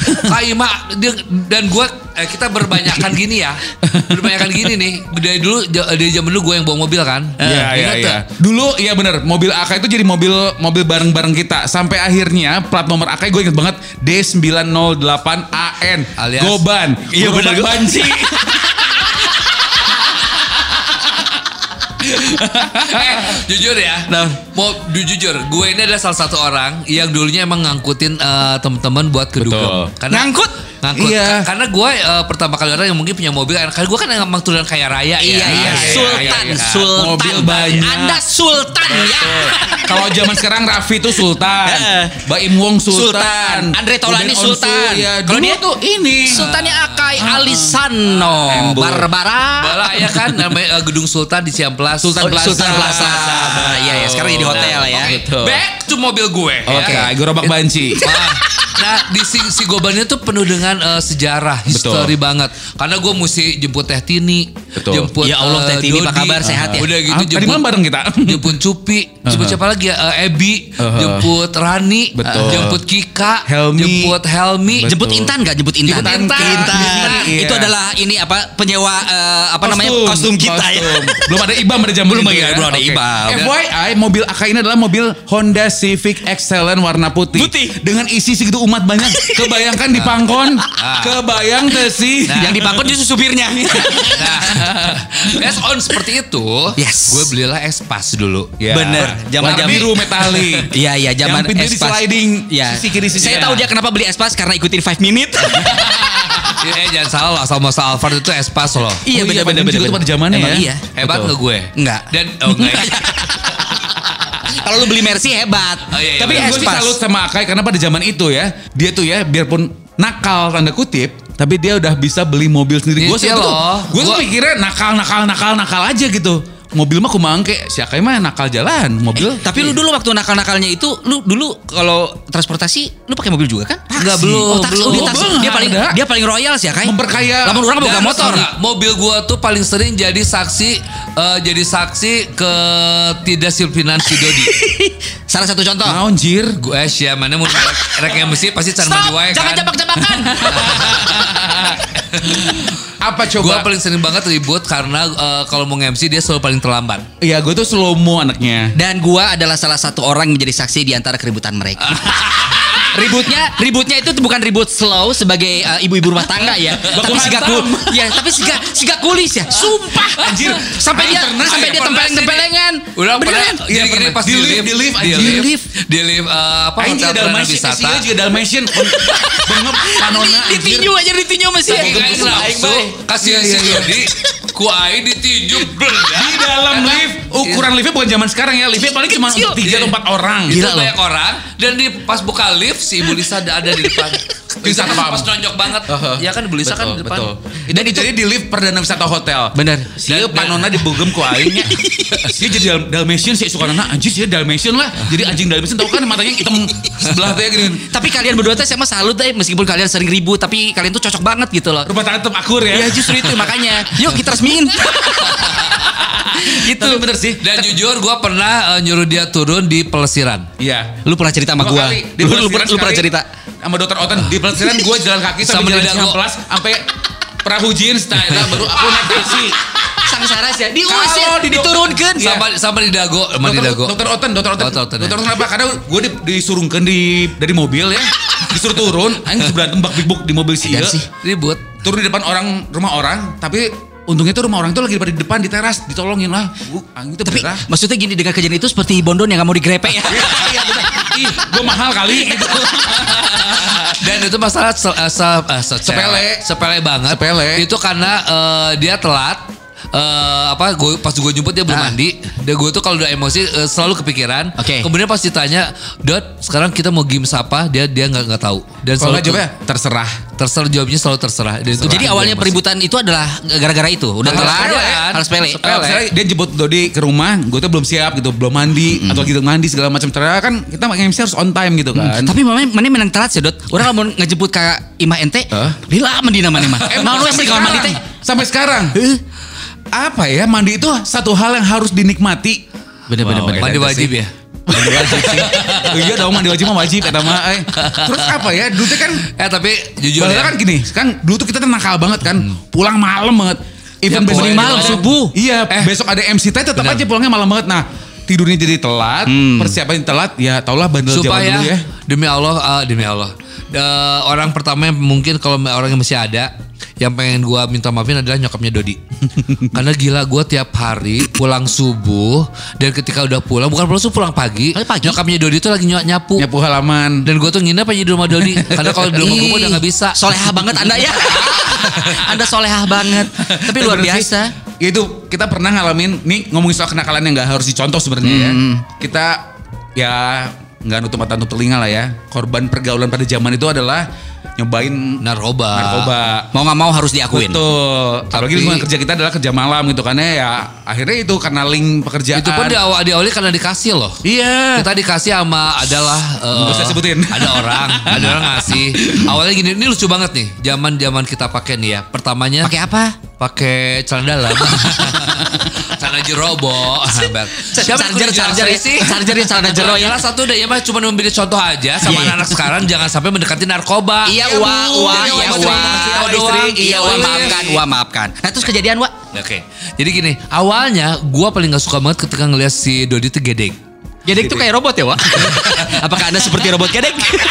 [SPEAKER 3] Kaima dia, dan gue eh, kita berbanyakan gini ya. Berbanyakan gini nih. Dari dulu ja- dari zaman dulu gue yang bawa mobil kan.
[SPEAKER 1] Iya,
[SPEAKER 3] Eh,
[SPEAKER 1] iya,
[SPEAKER 3] ingat
[SPEAKER 1] iya.
[SPEAKER 3] nggak?
[SPEAKER 1] Dulu iya bener, mobil AK itu jadi mobil mobil bareng-bareng kita. Sampai akhirnya plat nomor AK gue inget banget D908AN.
[SPEAKER 3] Alias-
[SPEAKER 1] Goban.
[SPEAKER 2] Iya,
[SPEAKER 1] Gerobak
[SPEAKER 2] bener, Go-
[SPEAKER 1] Banci.
[SPEAKER 3] Eh, jujur ya.
[SPEAKER 2] Nah.
[SPEAKER 3] Mau ju- jujur, gue ini adalah salah satu orang yang dulunya emang ngangkutin eh, teman-teman buat ke dugem.
[SPEAKER 1] Betul.
[SPEAKER 2] Ngangkut?
[SPEAKER 3] Ngangkut.
[SPEAKER 1] Iya.
[SPEAKER 3] Ka- Karena gue eh, pertama kali orang yang mungkin punya mobil kan. Karena gue kan emang turunan kaya
[SPEAKER 2] Iya,
[SPEAKER 3] raya
[SPEAKER 2] iya,
[SPEAKER 3] ya.
[SPEAKER 1] iya,
[SPEAKER 2] Sultan,
[SPEAKER 1] iya, iya.
[SPEAKER 2] Sultan.
[SPEAKER 1] Mobil banyak.
[SPEAKER 3] Iya.
[SPEAKER 2] Anda Sultan ya.
[SPEAKER 1] Kalau zaman sekarang Raffi tuh Sultan,
[SPEAKER 2] Heeh.
[SPEAKER 1] Baim Wong
[SPEAKER 2] Sultan.
[SPEAKER 1] Sultan,
[SPEAKER 2] Andre Taulani
[SPEAKER 1] Ruben Onsu,
[SPEAKER 2] Sultan.
[SPEAKER 1] ya.
[SPEAKER 2] Kalau
[SPEAKER 1] Dulu
[SPEAKER 2] dia tuh ini. Sultannya Akai Alisano.
[SPEAKER 1] Embur.
[SPEAKER 2] Barbara.
[SPEAKER 3] Bala ya kan namanya eh, Gedung Sultan di Ciamplas.
[SPEAKER 1] Sultan
[SPEAKER 2] Oh,
[SPEAKER 1] Plaza.
[SPEAKER 2] Sultan Plaza. Iya, iya. Sekarang jadi hotel ya.
[SPEAKER 3] Oke,
[SPEAKER 2] Betul.
[SPEAKER 3] Back to mobil gue. ya.
[SPEAKER 1] Oke, gerobak banci.
[SPEAKER 3] Ah, nah di si, si Gobannya tuh penuh dengan eh, sejarah, history banget. Karena gue mesti jemput Teh Tini,
[SPEAKER 1] Betul.
[SPEAKER 3] jemput
[SPEAKER 2] Ya Allah,
[SPEAKER 3] eh,
[SPEAKER 2] Teh Tini apa
[SPEAKER 3] Dodi.
[SPEAKER 2] kabar? Sehat ya?
[SPEAKER 3] Udah gitu
[SPEAKER 1] Ah, tadi malam bareng kita.
[SPEAKER 3] jemput Cupi, jemput siapa lagi ya? Eh, Ebi,
[SPEAKER 1] Uh-huh.
[SPEAKER 3] jemput Rani,
[SPEAKER 1] Betul.
[SPEAKER 3] jemput Kika,
[SPEAKER 1] Helmi.
[SPEAKER 3] jemput Helmi,
[SPEAKER 1] Betul.
[SPEAKER 2] Jemput Intan gak? Jemput Intan.
[SPEAKER 3] Jemput Intan. Intan,
[SPEAKER 1] iya.
[SPEAKER 2] Itu adalah ini apa penyewa eh, apa namanya kostum kita
[SPEAKER 1] kostum.
[SPEAKER 2] ya.
[SPEAKER 1] Belum ada IBAM pada zaman
[SPEAKER 2] Belum
[SPEAKER 1] itu ya?
[SPEAKER 2] ada- belum ada
[SPEAKER 1] Oke.
[SPEAKER 2] IBAM.
[SPEAKER 1] FYI, mobil AK ini adalah mobil Honda Civic Excellent warna putih.
[SPEAKER 2] Putih.
[SPEAKER 1] Dengan isi segitu umat banyak. Kebayangkan di pangkon. Kebayang teh sih.
[SPEAKER 2] Yang dibangun justru supirnya.
[SPEAKER 3] Nah, based on seperti itu,
[SPEAKER 2] Yes.
[SPEAKER 3] gue belilah espas dulu.
[SPEAKER 1] Ya.
[SPEAKER 2] Bener.
[SPEAKER 1] Warna
[SPEAKER 2] Zaman-zaman-
[SPEAKER 1] biru metalik.
[SPEAKER 2] Iya iya zaman
[SPEAKER 1] Yang pintu di
[SPEAKER 2] Espas.
[SPEAKER 1] sliding,
[SPEAKER 2] Iya.
[SPEAKER 1] sisi kiri, sisi
[SPEAKER 2] Saya
[SPEAKER 1] kanan.
[SPEAKER 2] tahu dia kenapa beli Espas karena ikutin 5 minute.
[SPEAKER 3] Ya, eh, jangan salah lah sama Sa Alphard itu espas loh.
[SPEAKER 1] iya, bener,
[SPEAKER 2] juga
[SPEAKER 1] bener.
[SPEAKER 2] tuh pada zamannya
[SPEAKER 1] Emang
[SPEAKER 2] ya.
[SPEAKER 1] iya. Betul.
[SPEAKER 3] Hebat nggak gue?
[SPEAKER 2] Enggak.
[SPEAKER 3] Dan oh enggak.
[SPEAKER 2] Kalau lu beli Mercy hebat.
[SPEAKER 3] Oh, iya, iya,
[SPEAKER 2] Tapi
[SPEAKER 1] Tapi gue sih
[SPEAKER 2] Espas.
[SPEAKER 1] salut sama Akai karena pada zaman itu ya, dia tuh ya biarpun nakal tanda kutip, tapi dia udah bisa beli mobil sendiri. Gue sih
[SPEAKER 3] Iya
[SPEAKER 1] itu tuh,
[SPEAKER 3] loh.
[SPEAKER 1] gue tuh
[SPEAKER 3] Gua-
[SPEAKER 1] mikirnya nakal, nakal, nakal, nakal aja gitu. Mobil mah kumangke, si Akai mah nakal jalan, mobil.
[SPEAKER 2] Eh, tapi lu dulu waktu nakal-nakalnya itu, lu dulu kalau transportasi, lu pakai mobil juga kan?
[SPEAKER 3] Enggak, belum,
[SPEAKER 2] Oh, taksi. Oh, dia,
[SPEAKER 3] belum.
[SPEAKER 2] taksi.
[SPEAKER 1] Belum,
[SPEAKER 2] dia paling
[SPEAKER 1] ada.
[SPEAKER 2] dia paling royal sih ya, Kai.
[SPEAKER 1] Memperkaya.
[SPEAKER 2] Lamun orang boga
[SPEAKER 3] Dan
[SPEAKER 2] motor.
[SPEAKER 3] enggak, Mobil gua tuh paling sering jadi saksi eh, jadi saksi ke tidak silpinan si Dodi.
[SPEAKER 2] Salah satu contoh.
[SPEAKER 1] Nah, anjir.
[SPEAKER 3] gue eh, sia mana mun rek- rek yang besi pasti can mandi wae
[SPEAKER 2] jangan
[SPEAKER 3] kan.
[SPEAKER 2] jebak-jebakan.
[SPEAKER 1] Apa
[SPEAKER 3] Gue
[SPEAKER 1] coba?
[SPEAKER 3] paling sering banget ribut karena eh, kalau mau MC dia selalu paling terlambat.
[SPEAKER 1] Iya, gue tuh slow mo anaknya.
[SPEAKER 2] Dan gua adalah salah satu orang yang menjadi saksi di antara keributan mereka. ributnya ributnya itu tuh bukan ribut slow sebagai uh, ibu-ibu rumah tangga ya tapi siga ku- ya tapi siga siga kulis ya sumpah anjir sampai dia
[SPEAKER 1] Pernah,
[SPEAKER 2] sampai
[SPEAKER 1] ya,
[SPEAKER 2] dia tempeleng tempelengan
[SPEAKER 3] Udah
[SPEAKER 2] beneran
[SPEAKER 3] pernah. Jadi
[SPEAKER 1] Iya,
[SPEAKER 3] gini
[SPEAKER 1] pernah.
[SPEAKER 3] pas
[SPEAKER 1] Di
[SPEAKER 3] di
[SPEAKER 1] lift,
[SPEAKER 3] lift,
[SPEAKER 1] di lift,
[SPEAKER 3] di
[SPEAKER 1] anjing.
[SPEAKER 3] lift, di lift eh, apa
[SPEAKER 1] Aing
[SPEAKER 3] hotel
[SPEAKER 1] juga
[SPEAKER 3] Prana
[SPEAKER 1] dalmatian, si
[SPEAKER 3] wisata.
[SPEAKER 1] Sio juga dalmatian. Bengep, kanona anjir.
[SPEAKER 2] ditinju aja ditinju
[SPEAKER 1] Iya,
[SPEAKER 2] masih
[SPEAKER 3] Tapi kan
[SPEAKER 2] Aing
[SPEAKER 3] nafsu
[SPEAKER 2] bae.
[SPEAKER 3] kasihan si Dodi. Ku aing ditinjuk
[SPEAKER 1] Di
[SPEAKER 3] beledak.
[SPEAKER 1] dalam lift, ukuran liftnya bukan zaman sekarang ya. Liftnya paling cuma
[SPEAKER 2] Kecil.
[SPEAKER 1] untuk 3 atau 4 orang.
[SPEAKER 3] Gila
[SPEAKER 2] Gila loh.
[SPEAKER 3] banyak orang dan di pas buka lift si Ibu Lisa ada, ada di depan.
[SPEAKER 1] Wisata pam.
[SPEAKER 3] Pas nonjok banget. Ya kan gelisah kan di depan.
[SPEAKER 1] Betul. Dan itu jadi di lift perdana wisata hotel.
[SPEAKER 2] Benar.
[SPEAKER 1] Sia
[SPEAKER 3] Dan-
[SPEAKER 1] panona dibogem ku aingnya. Sia jadi Dal- Dalmatian sih suka anak anjing sia Dalmatian lah. Jadi anjing Dalmatian tahu kan matanya hitam sebelah teh gini.
[SPEAKER 2] Tapi kalian berdua teh sama salut deh meskipun kalian sering ribut tapi kalian tuh cocok banget gitu loh.
[SPEAKER 1] Rumah tangga tetap akur ya.
[SPEAKER 2] Ya justru itu makanya. Yuk kita resmiin. Gitu.
[SPEAKER 1] itu bener sih.
[SPEAKER 3] Dan jujur gue pernah eh, nyuruh dia turun di pelesiran.
[SPEAKER 1] Iya.
[SPEAKER 2] lu pernah cerita sama
[SPEAKER 1] Dua
[SPEAKER 2] gua.
[SPEAKER 1] kali. Di
[SPEAKER 2] Lu, lu,
[SPEAKER 1] pelesiran
[SPEAKER 2] pernah- lu pernah
[SPEAKER 1] sekali
[SPEAKER 2] cerita.
[SPEAKER 1] sama dokter Oten di pelesiran gue jalan kaki
[SPEAKER 3] Sama
[SPEAKER 1] sampai jalan
[SPEAKER 3] didagu.
[SPEAKER 1] Cihampelas sampai perahu jeans nah, nah, baru aku naik taksi.
[SPEAKER 2] Sang Saras ya
[SPEAKER 1] Kalau
[SPEAKER 2] diusir,
[SPEAKER 1] di-
[SPEAKER 2] diturunkan.
[SPEAKER 1] Iya.
[SPEAKER 3] Sama sama di dago, sama di
[SPEAKER 1] Dokter,
[SPEAKER 3] dago.
[SPEAKER 1] dokter Oten, dokter Oten.
[SPEAKER 3] Dokter
[SPEAKER 1] Dokter
[SPEAKER 3] Oten,
[SPEAKER 1] Oten,
[SPEAKER 3] ya.
[SPEAKER 1] kenapa? Karena gue di, disurungkan di dari mobil ya. Disuruh turun, anjing sebelah tembak big book di mobil si
[SPEAKER 2] Dan
[SPEAKER 1] Iya.
[SPEAKER 2] sih.
[SPEAKER 3] Ribut.
[SPEAKER 1] Turun di depan orang rumah orang, tapi untungnya tuh rumah orang itu lagi pada di depan di teras, ditolongin lah. Gua anjing itu
[SPEAKER 2] Tapi
[SPEAKER 1] beneran.
[SPEAKER 2] maksudnya gini dengan kejadian itu seperti Bondon yang gak mau digrepe ya.
[SPEAKER 1] Iya, bener. Ih, gue mahal kali gitu.
[SPEAKER 3] Dan itu masalah se- eh, se- eh, se-
[SPEAKER 1] Sepele.
[SPEAKER 3] sepele banget.
[SPEAKER 1] Sepele.
[SPEAKER 3] Itu karena eh, dia telat. Eh, apa gua, pas gue jemput dia belum
[SPEAKER 2] Ah.
[SPEAKER 3] mandi dan gue tuh kalau udah emosi eh, selalu kepikiran
[SPEAKER 2] Oke.
[SPEAKER 3] kemudian pas ditanya dot sekarang kita mau games apa dia dia nggak nggak tahu dan
[SPEAKER 1] Kalau
[SPEAKER 3] selalu
[SPEAKER 1] nggak ya? jawabnya terserah.
[SPEAKER 3] terserah jawabnya selalu terserah Dan itu
[SPEAKER 2] Jadi
[SPEAKER 3] bikin
[SPEAKER 2] awalnya
[SPEAKER 3] gua emosi.
[SPEAKER 2] peributan itu adalah gara-gara itu. Udah
[SPEAKER 3] Harus
[SPEAKER 2] telat,
[SPEAKER 3] pele.
[SPEAKER 2] harus pele.
[SPEAKER 1] Eh, misalnya dia jemput Dodi ke rumah, gue tuh belum siap gitu, belum mandi atau gitu mandi segala macam. Ternyata kan kita MC harus on time gitu kan.
[SPEAKER 2] Tapi mana mana menang telat sih dot. Orang mau ngejemput kakak Imah ente.
[SPEAKER 1] Hah?
[SPEAKER 2] Lila mendina mana mah.
[SPEAKER 1] Eh,
[SPEAKER 2] Mau lu
[SPEAKER 1] sampai
[SPEAKER 2] sih kamar mandi teh. Eh?
[SPEAKER 1] sekarang- Sampai sekarang. Apa ya mandi itu satu hal yang harus dinikmati.
[SPEAKER 2] Bener bener
[SPEAKER 1] Wow,
[SPEAKER 2] bener.
[SPEAKER 3] mandi
[SPEAKER 1] Ada
[SPEAKER 3] wajib
[SPEAKER 1] sih.
[SPEAKER 3] ya
[SPEAKER 1] Mandi wajib sih. iya dong mandi wajib mah wajib kata mah. eh. Terus apa ya? Dulu tuh kan
[SPEAKER 3] eh tapi jujur
[SPEAKER 1] Bahkan
[SPEAKER 3] ya
[SPEAKER 1] kan gini, kan dulu tuh kita tuh nakal banget kan. Pulang malam banget. Even
[SPEAKER 3] Hmm. Ya,
[SPEAKER 1] besok
[SPEAKER 3] pokoknya
[SPEAKER 1] malam
[SPEAKER 3] malam.
[SPEAKER 1] subuh. Iya, besok ada MC tapi tetap
[SPEAKER 3] Benar. Hmm.
[SPEAKER 1] aja pulangnya malam banget. Nah, tidurnya jadi telat, persiapan telat, ya taulah bandel zaman
[SPEAKER 3] supaya
[SPEAKER 1] dulu ya.
[SPEAKER 3] demi Allah ah, demi Allah Eh, orang pertama yang mungkin kalau orang yang masih ada yang pengen gua minta maafin adalah nyokapnya Dodi karena gila gua tiap hari pulang subuh dan ketika udah pulang bukan pulang subuh pulang pagi,
[SPEAKER 2] Oh, pagi?
[SPEAKER 3] nyokapnya Dodi tuh lagi ny- nyapu
[SPEAKER 1] Nyapu halaman.
[SPEAKER 3] dan gua tuh nginep aja di rumah Dodi karena kalau di rumah gua udah nggak bisa
[SPEAKER 2] Solehah banget anda ya. anda solehah banget. Tapi luar
[SPEAKER 1] bener sih,
[SPEAKER 2] biasa.
[SPEAKER 1] ya itu kita pernah ngalamin nih ngomongin soal kenakalan yang nggak harus dicontoh sebenarnya ya.
[SPEAKER 3] Hmm.
[SPEAKER 1] Kita ya nggak nutup mata nutup telinga lah ya. Korban pergaulan pada zaman itu adalah nyobain
[SPEAKER 3] narkoba
[SPEAKER 1] narkoba.
[SPEAKER 2] Mau nggak mau harus diakuin.
[SPEAKER 1] Betul. Apalagi
[SPEAKER 3] Tapi-
[SPEAKER 1] lingkungan kerja kita adalah kerja malam gitu kan ya. Akhirnya itu karena link pekerjaan.
[SPEAKER 3] itu pun di awal diawali karena dikasih loh
[SPEAKER 1] Iya.
[SPEAKER 3] kita dikasih sama adalah eh,
[SPEAKER 1] Nggak usah sebutin.
[SPEAKER 3] ada orang ada orang ngasih awalnya gini ini lucu banget nih zaman zaman kita pakai nih ya pertamanya
[SPEAKER 2] Pakai apa?
[SPEAKER 3] pakai celana dalam celana jerobo sabar
[SPEAKER 2] Charger, charger ya. Charger ya, celana jero ya.
[SPEAKER 3] Salah satu deh ya mah cuma memberi contoh aja
[SPEAKER 2] Iya,
[SPEAKER 3] sama
[SPEAKER 2] iya.
[SPEAKER 3] anak-anak sekarang jangan sampai mendekati narkoba.
[SPEAKER 2] Iya
[SPEAKER 3] Bu.
[SPEAKER 2] wa wa
[SPEAKER 3] Iya,
[SPEAKER 2] iya
[SPEAKER 3] Wak,
[SPEAKER 2] wa.
[SPEAKER 3] cuma ngasih tahu doang.
[SPEAKER 2] Iya wa
[SPEAKER 3] Iya.
[SPEAKER 2] maafkan wa maafkan. Nah terus kejadian wa.
[SPEAKER 3] Oke. Jadi gini, awalnya gua paling gak suka banget ketika ngeliat si Dodi tuh gedeng.
[SPEAKER 2] Gedek tuh kayak robot ya wa. Apakah anda seperti robot gedek?
[SPEAKER 3] Ya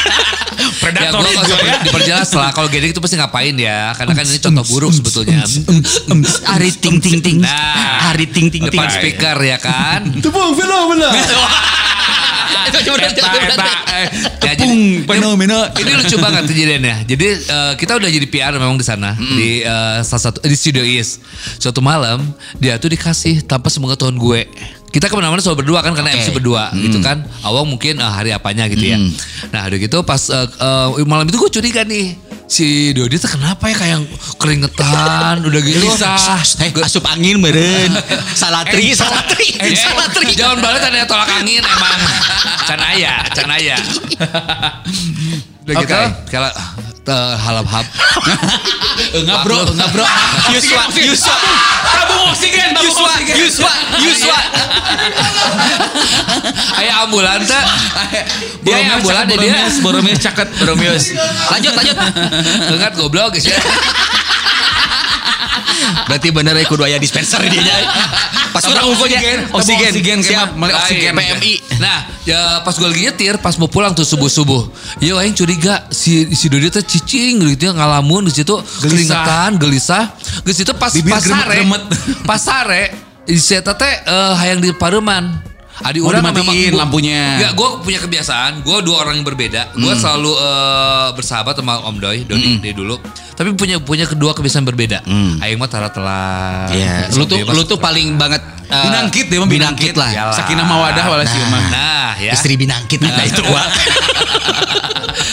[SPEAKER 1] predator
[SPEAKER 3] gue
[SPEAKER 1] itu ya.
[SPEAKER 3] diperjelas lah kalau gedek itu pasti ngapain ya karena kan ini contoh buruk sebetulnya.
[SPEAKER 2] Hari ting ting ting.
[SPEAKER 3] Nah.
[SPEAKER 2] Hari ting ting ting.
[SPEAKER 1] Iya,
[SPEAKER 3] Depan speaker ya kan.
[SPEAKER 1] Tepung fenomena.
[SPEAKER 2] Eta,
[SPEAKER 1] Eta, eta. eh,
[SPEAKER 3] Ya, jadi-
[SPEAKER 1] Tepung fenomena.
[SPEAKER 3] Ini lucu banget kejadiannya. Jadi eh, kita udah jadi PR memang di sana di eh, salah satu di Studio Is. Suatu malam dia tuh dikasih tanpa semoga Tuhan gue. Kita kemana-mana selalu berdua kan karena
[SPEAKER 2] Oke.
[SPEAKER 3] MC berdua gitu kan. Awang mungkin eh, hari apanya gitu ya. Nah udah gitu pas eh, eh, malam itu gue curiga nih. Si Dodi tuh kenapa ya kayak keringetan udah gitu.
[SPEAKER 2] Gelisah. Eh, asup angin meren. Eh, Salatri, salatri,
[SPEAKER 3] Eh,
[SPEAKER 2] salatri.
[SPEAKER 3] Jangan balik ada tolak angin emang. Canaya, canaya. Udah gitu,
[SPEAKER 1] Oke.
[SPEAKER 3] kalau eh, halap-hap.
[SPEAKER 1] Enggak bro,
[SPEAKER 3] Maklum.
[SPEAKER 1] enggak bro.
[SPEAKER 2] Yuswa, Yuswa.
[SPEAKER 1] Tabung oksigen, tabung
[SPEAKER 2] Yuswa,
[SPEAKER 1] oksigen.
[SPEAKER 2] Yuswa, Yuswa.
[SPEAKER 3] Ayah ambulan teh.
[SPEAKER 1] Boromius,
[SPEAKER 3] Dia yang ambulan deh dia.
[SPEAKER 1] Boromius, Boromius caket, Boromius.
[SPEAKER 2] Lanjut, lanjut.
[SPEAKER 3] Ingat goblok guys ya.
[SPEAKER 2] Berarti bener ya kudu aya dispenser dia nya. Pas
[SPEAKER 1] Tabung
[SPEAKER 2] kurang unggulnya.
[SPEAKER 1] oksigen, tabung
[SPEAKER 2] Oksigen,
[SPEAKER 1] oksigen,
[SPEAKER 2] siap.
[SPEAKER 1] kayaknya. Malik oksigen.
[SPEAKER 2] PMI.
[SPEAKER 3] Nah, ya pas gue lagi nyetir, pas mau pulang tuh subuh-subuh. Ya aing curiga si si Dodi teh cicing gitu ya, ngalamun di situ
[SPEAKER 1] Gelisah.
[SPEAKER 3] keringetan, gelisah. Di situ pas
[SPEAKER 1] Bibir
[SPEAKER 3] pasare,
[SPEAKER 1] gemet-gemet.
[SPEAKER 3] pasare si eta teh eh, hayang di Pareman. Adi
[SPEAKER 1] Mau
[SPEAKER 3] orang
[SPEAKER 1] dimatiin lampunya.
[SPEAKER 3] Enggak, gue punya kebiasaan. Gue dua orang yang berbeda. Gue
[SPEAKER 1] Hmm.
[SPEAKER 3] selalu eh, bersahabat sama Om Doi, Dodi dari dulu. Tapi punya punya kedua kebiasaan berbeda.
[SPEAKER 1] Hmm.
[SPEAKER 3] Aing mah tara telat.
[SPEAKER 2] Iya, lu tuh lu tuh paling banget eh,
[SPEAKER 1] Binangkit dia mah
[SPEAKER 2] binangkit lah.
[SPEAKER 1] Sakinah mawadah wala
[SPEAKER 2] Nah.
[SPEAKER 1] siumah.
[SPEAKER 3] Nah, ya.
[SPEAKER 2] Istri binangkit nah itu wa.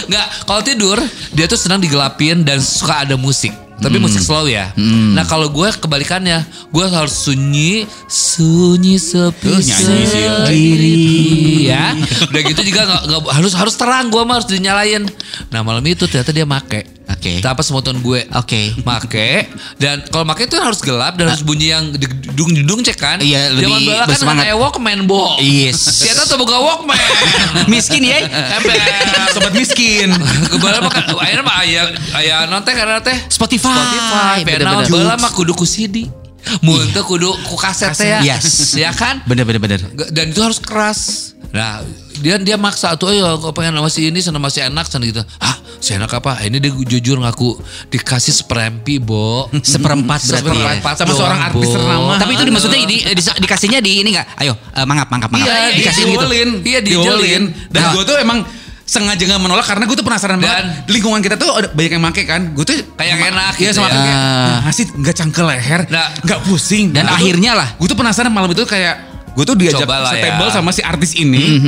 [SPEAKER 3] Nggak, kalau tidur dia tuh senang digelapin dan suka ada musik. Tapi
[SPEAKER 1] Hmm.
[SPEAKER 3] musik slow ya. Nah kalau gue kebalikannya, gue harus sunyi, sunyi
[SPEAKER 1] Eh,
[SPEAKER 3] sepi
[SPEAKER 1] nyanyi sih, ya.
[SPEAKER 3] sendiri ya. Udah gitu juga nggak nggak- harus harus terang gue harus dinyalain. Nah malam itu ternyata dia make.
[SPEAKER 2] Oke.
[SPEAKER 3] Tanpa semoton gue.
[SPEAKER 2] Oke. Ah.
[SPEAKER 3] Make dan kalau make itu harus gelap dan harus bunyi yang dedung dedung cek kan.
[SPEAKER 2] Iya, lebih
[SPEAKER 3] Zaman bala kan
[SPEAKER 2] bersemangat.
[SPEAKER 3] anak Walkman bo.
[SPEAKER 2] Yes.
[SPEAKER 3] Ternyata tuh buka Walkman.
[SPEAKER 2] Miskin ya.
[SPEAKER 3] Ember.
[SPEAKER 1] Sobat miskin.
[SPEAKER 3] Kebala mah kan- akhirnya mah ayah ayah nonton karena teh
[SPEAKER 2] Spotify.
[SPEAKER 3] Spotify,
[SPEAKER 2] Bener-bener.
[SPEAKER 3] penal bala mah kudu ku CD. Mun teu kudu ku kaset teh ya.
[SPEAKER 2] Yes.
[SPEAKER 3] Ya kan?
[SPEAKER 2] Bener bener bener.
[SPEAKER 3] Nggak- Dan itu harus keras. Nah, dia dia maksa tuh ayo aku pengen sama si ini sana masih enak sana gitu. Hah, si enak apa? "Ah, Ini dia jujur ngaku dikasih seperempi, Bo.
[SPEAKER 2] Seperempat berarti ya.
[SPEAKER 3] Seperempat
[SPEAKER 1] Sama
[SPEAKER 3] doang,
[SPEAKER 1] seorang artis
[SPEAKER 3] Bo. Nah,
[SPEAKER 1] ternama.
[SPEAKER 2] Tapi itu dimaksudnya ini eh, dis- dikasihnya di ini enggak? Ayo, eh, mangap mangap mangap.
[SPEAKER 3] Iya,
[SPEAKER 2] dikasih
[SPEAKER 3] iya,
[SPEAKER 2] gitu.
[SPEAKER 1] diwolin.
[SPEAKER 3] Iya,
[SPEAKER 1] diwolin.
[SPEAKER 3] dijelin.
[SPEAKER 1] Dan
[SPEAKER 3] Nah.
[SPEAKER 1] gue tuh emang sengaja gak menolak karena gue tuh penasaran banget. Lingkungan kita tuh ada banyak yang make kan. Gue tuh
[SPEAKER 3] Kayak
[SPEAKER 1] sama-
[SPEAKER 3] enak
[SPEAKER 1] Iya
[SPEAKER 3] gitu
[SPEAKER 1] sama
[SPEAKER 3] ya.
[SPEAKER 1] kayak ngasih nggak cangkel leher,
[SPEAKER 3] Nah.
[SPEAKER 1] nggak pusing.
[SPEAKER 2] Dan akhirnya lah.
[SPEAKER 1] Gue tuh penasaran malam itu kayak gue tuh diajak
[SPEAKER 3] Cobalah ya. Hmm,
[SPEAKER 1] setable sama si artis ini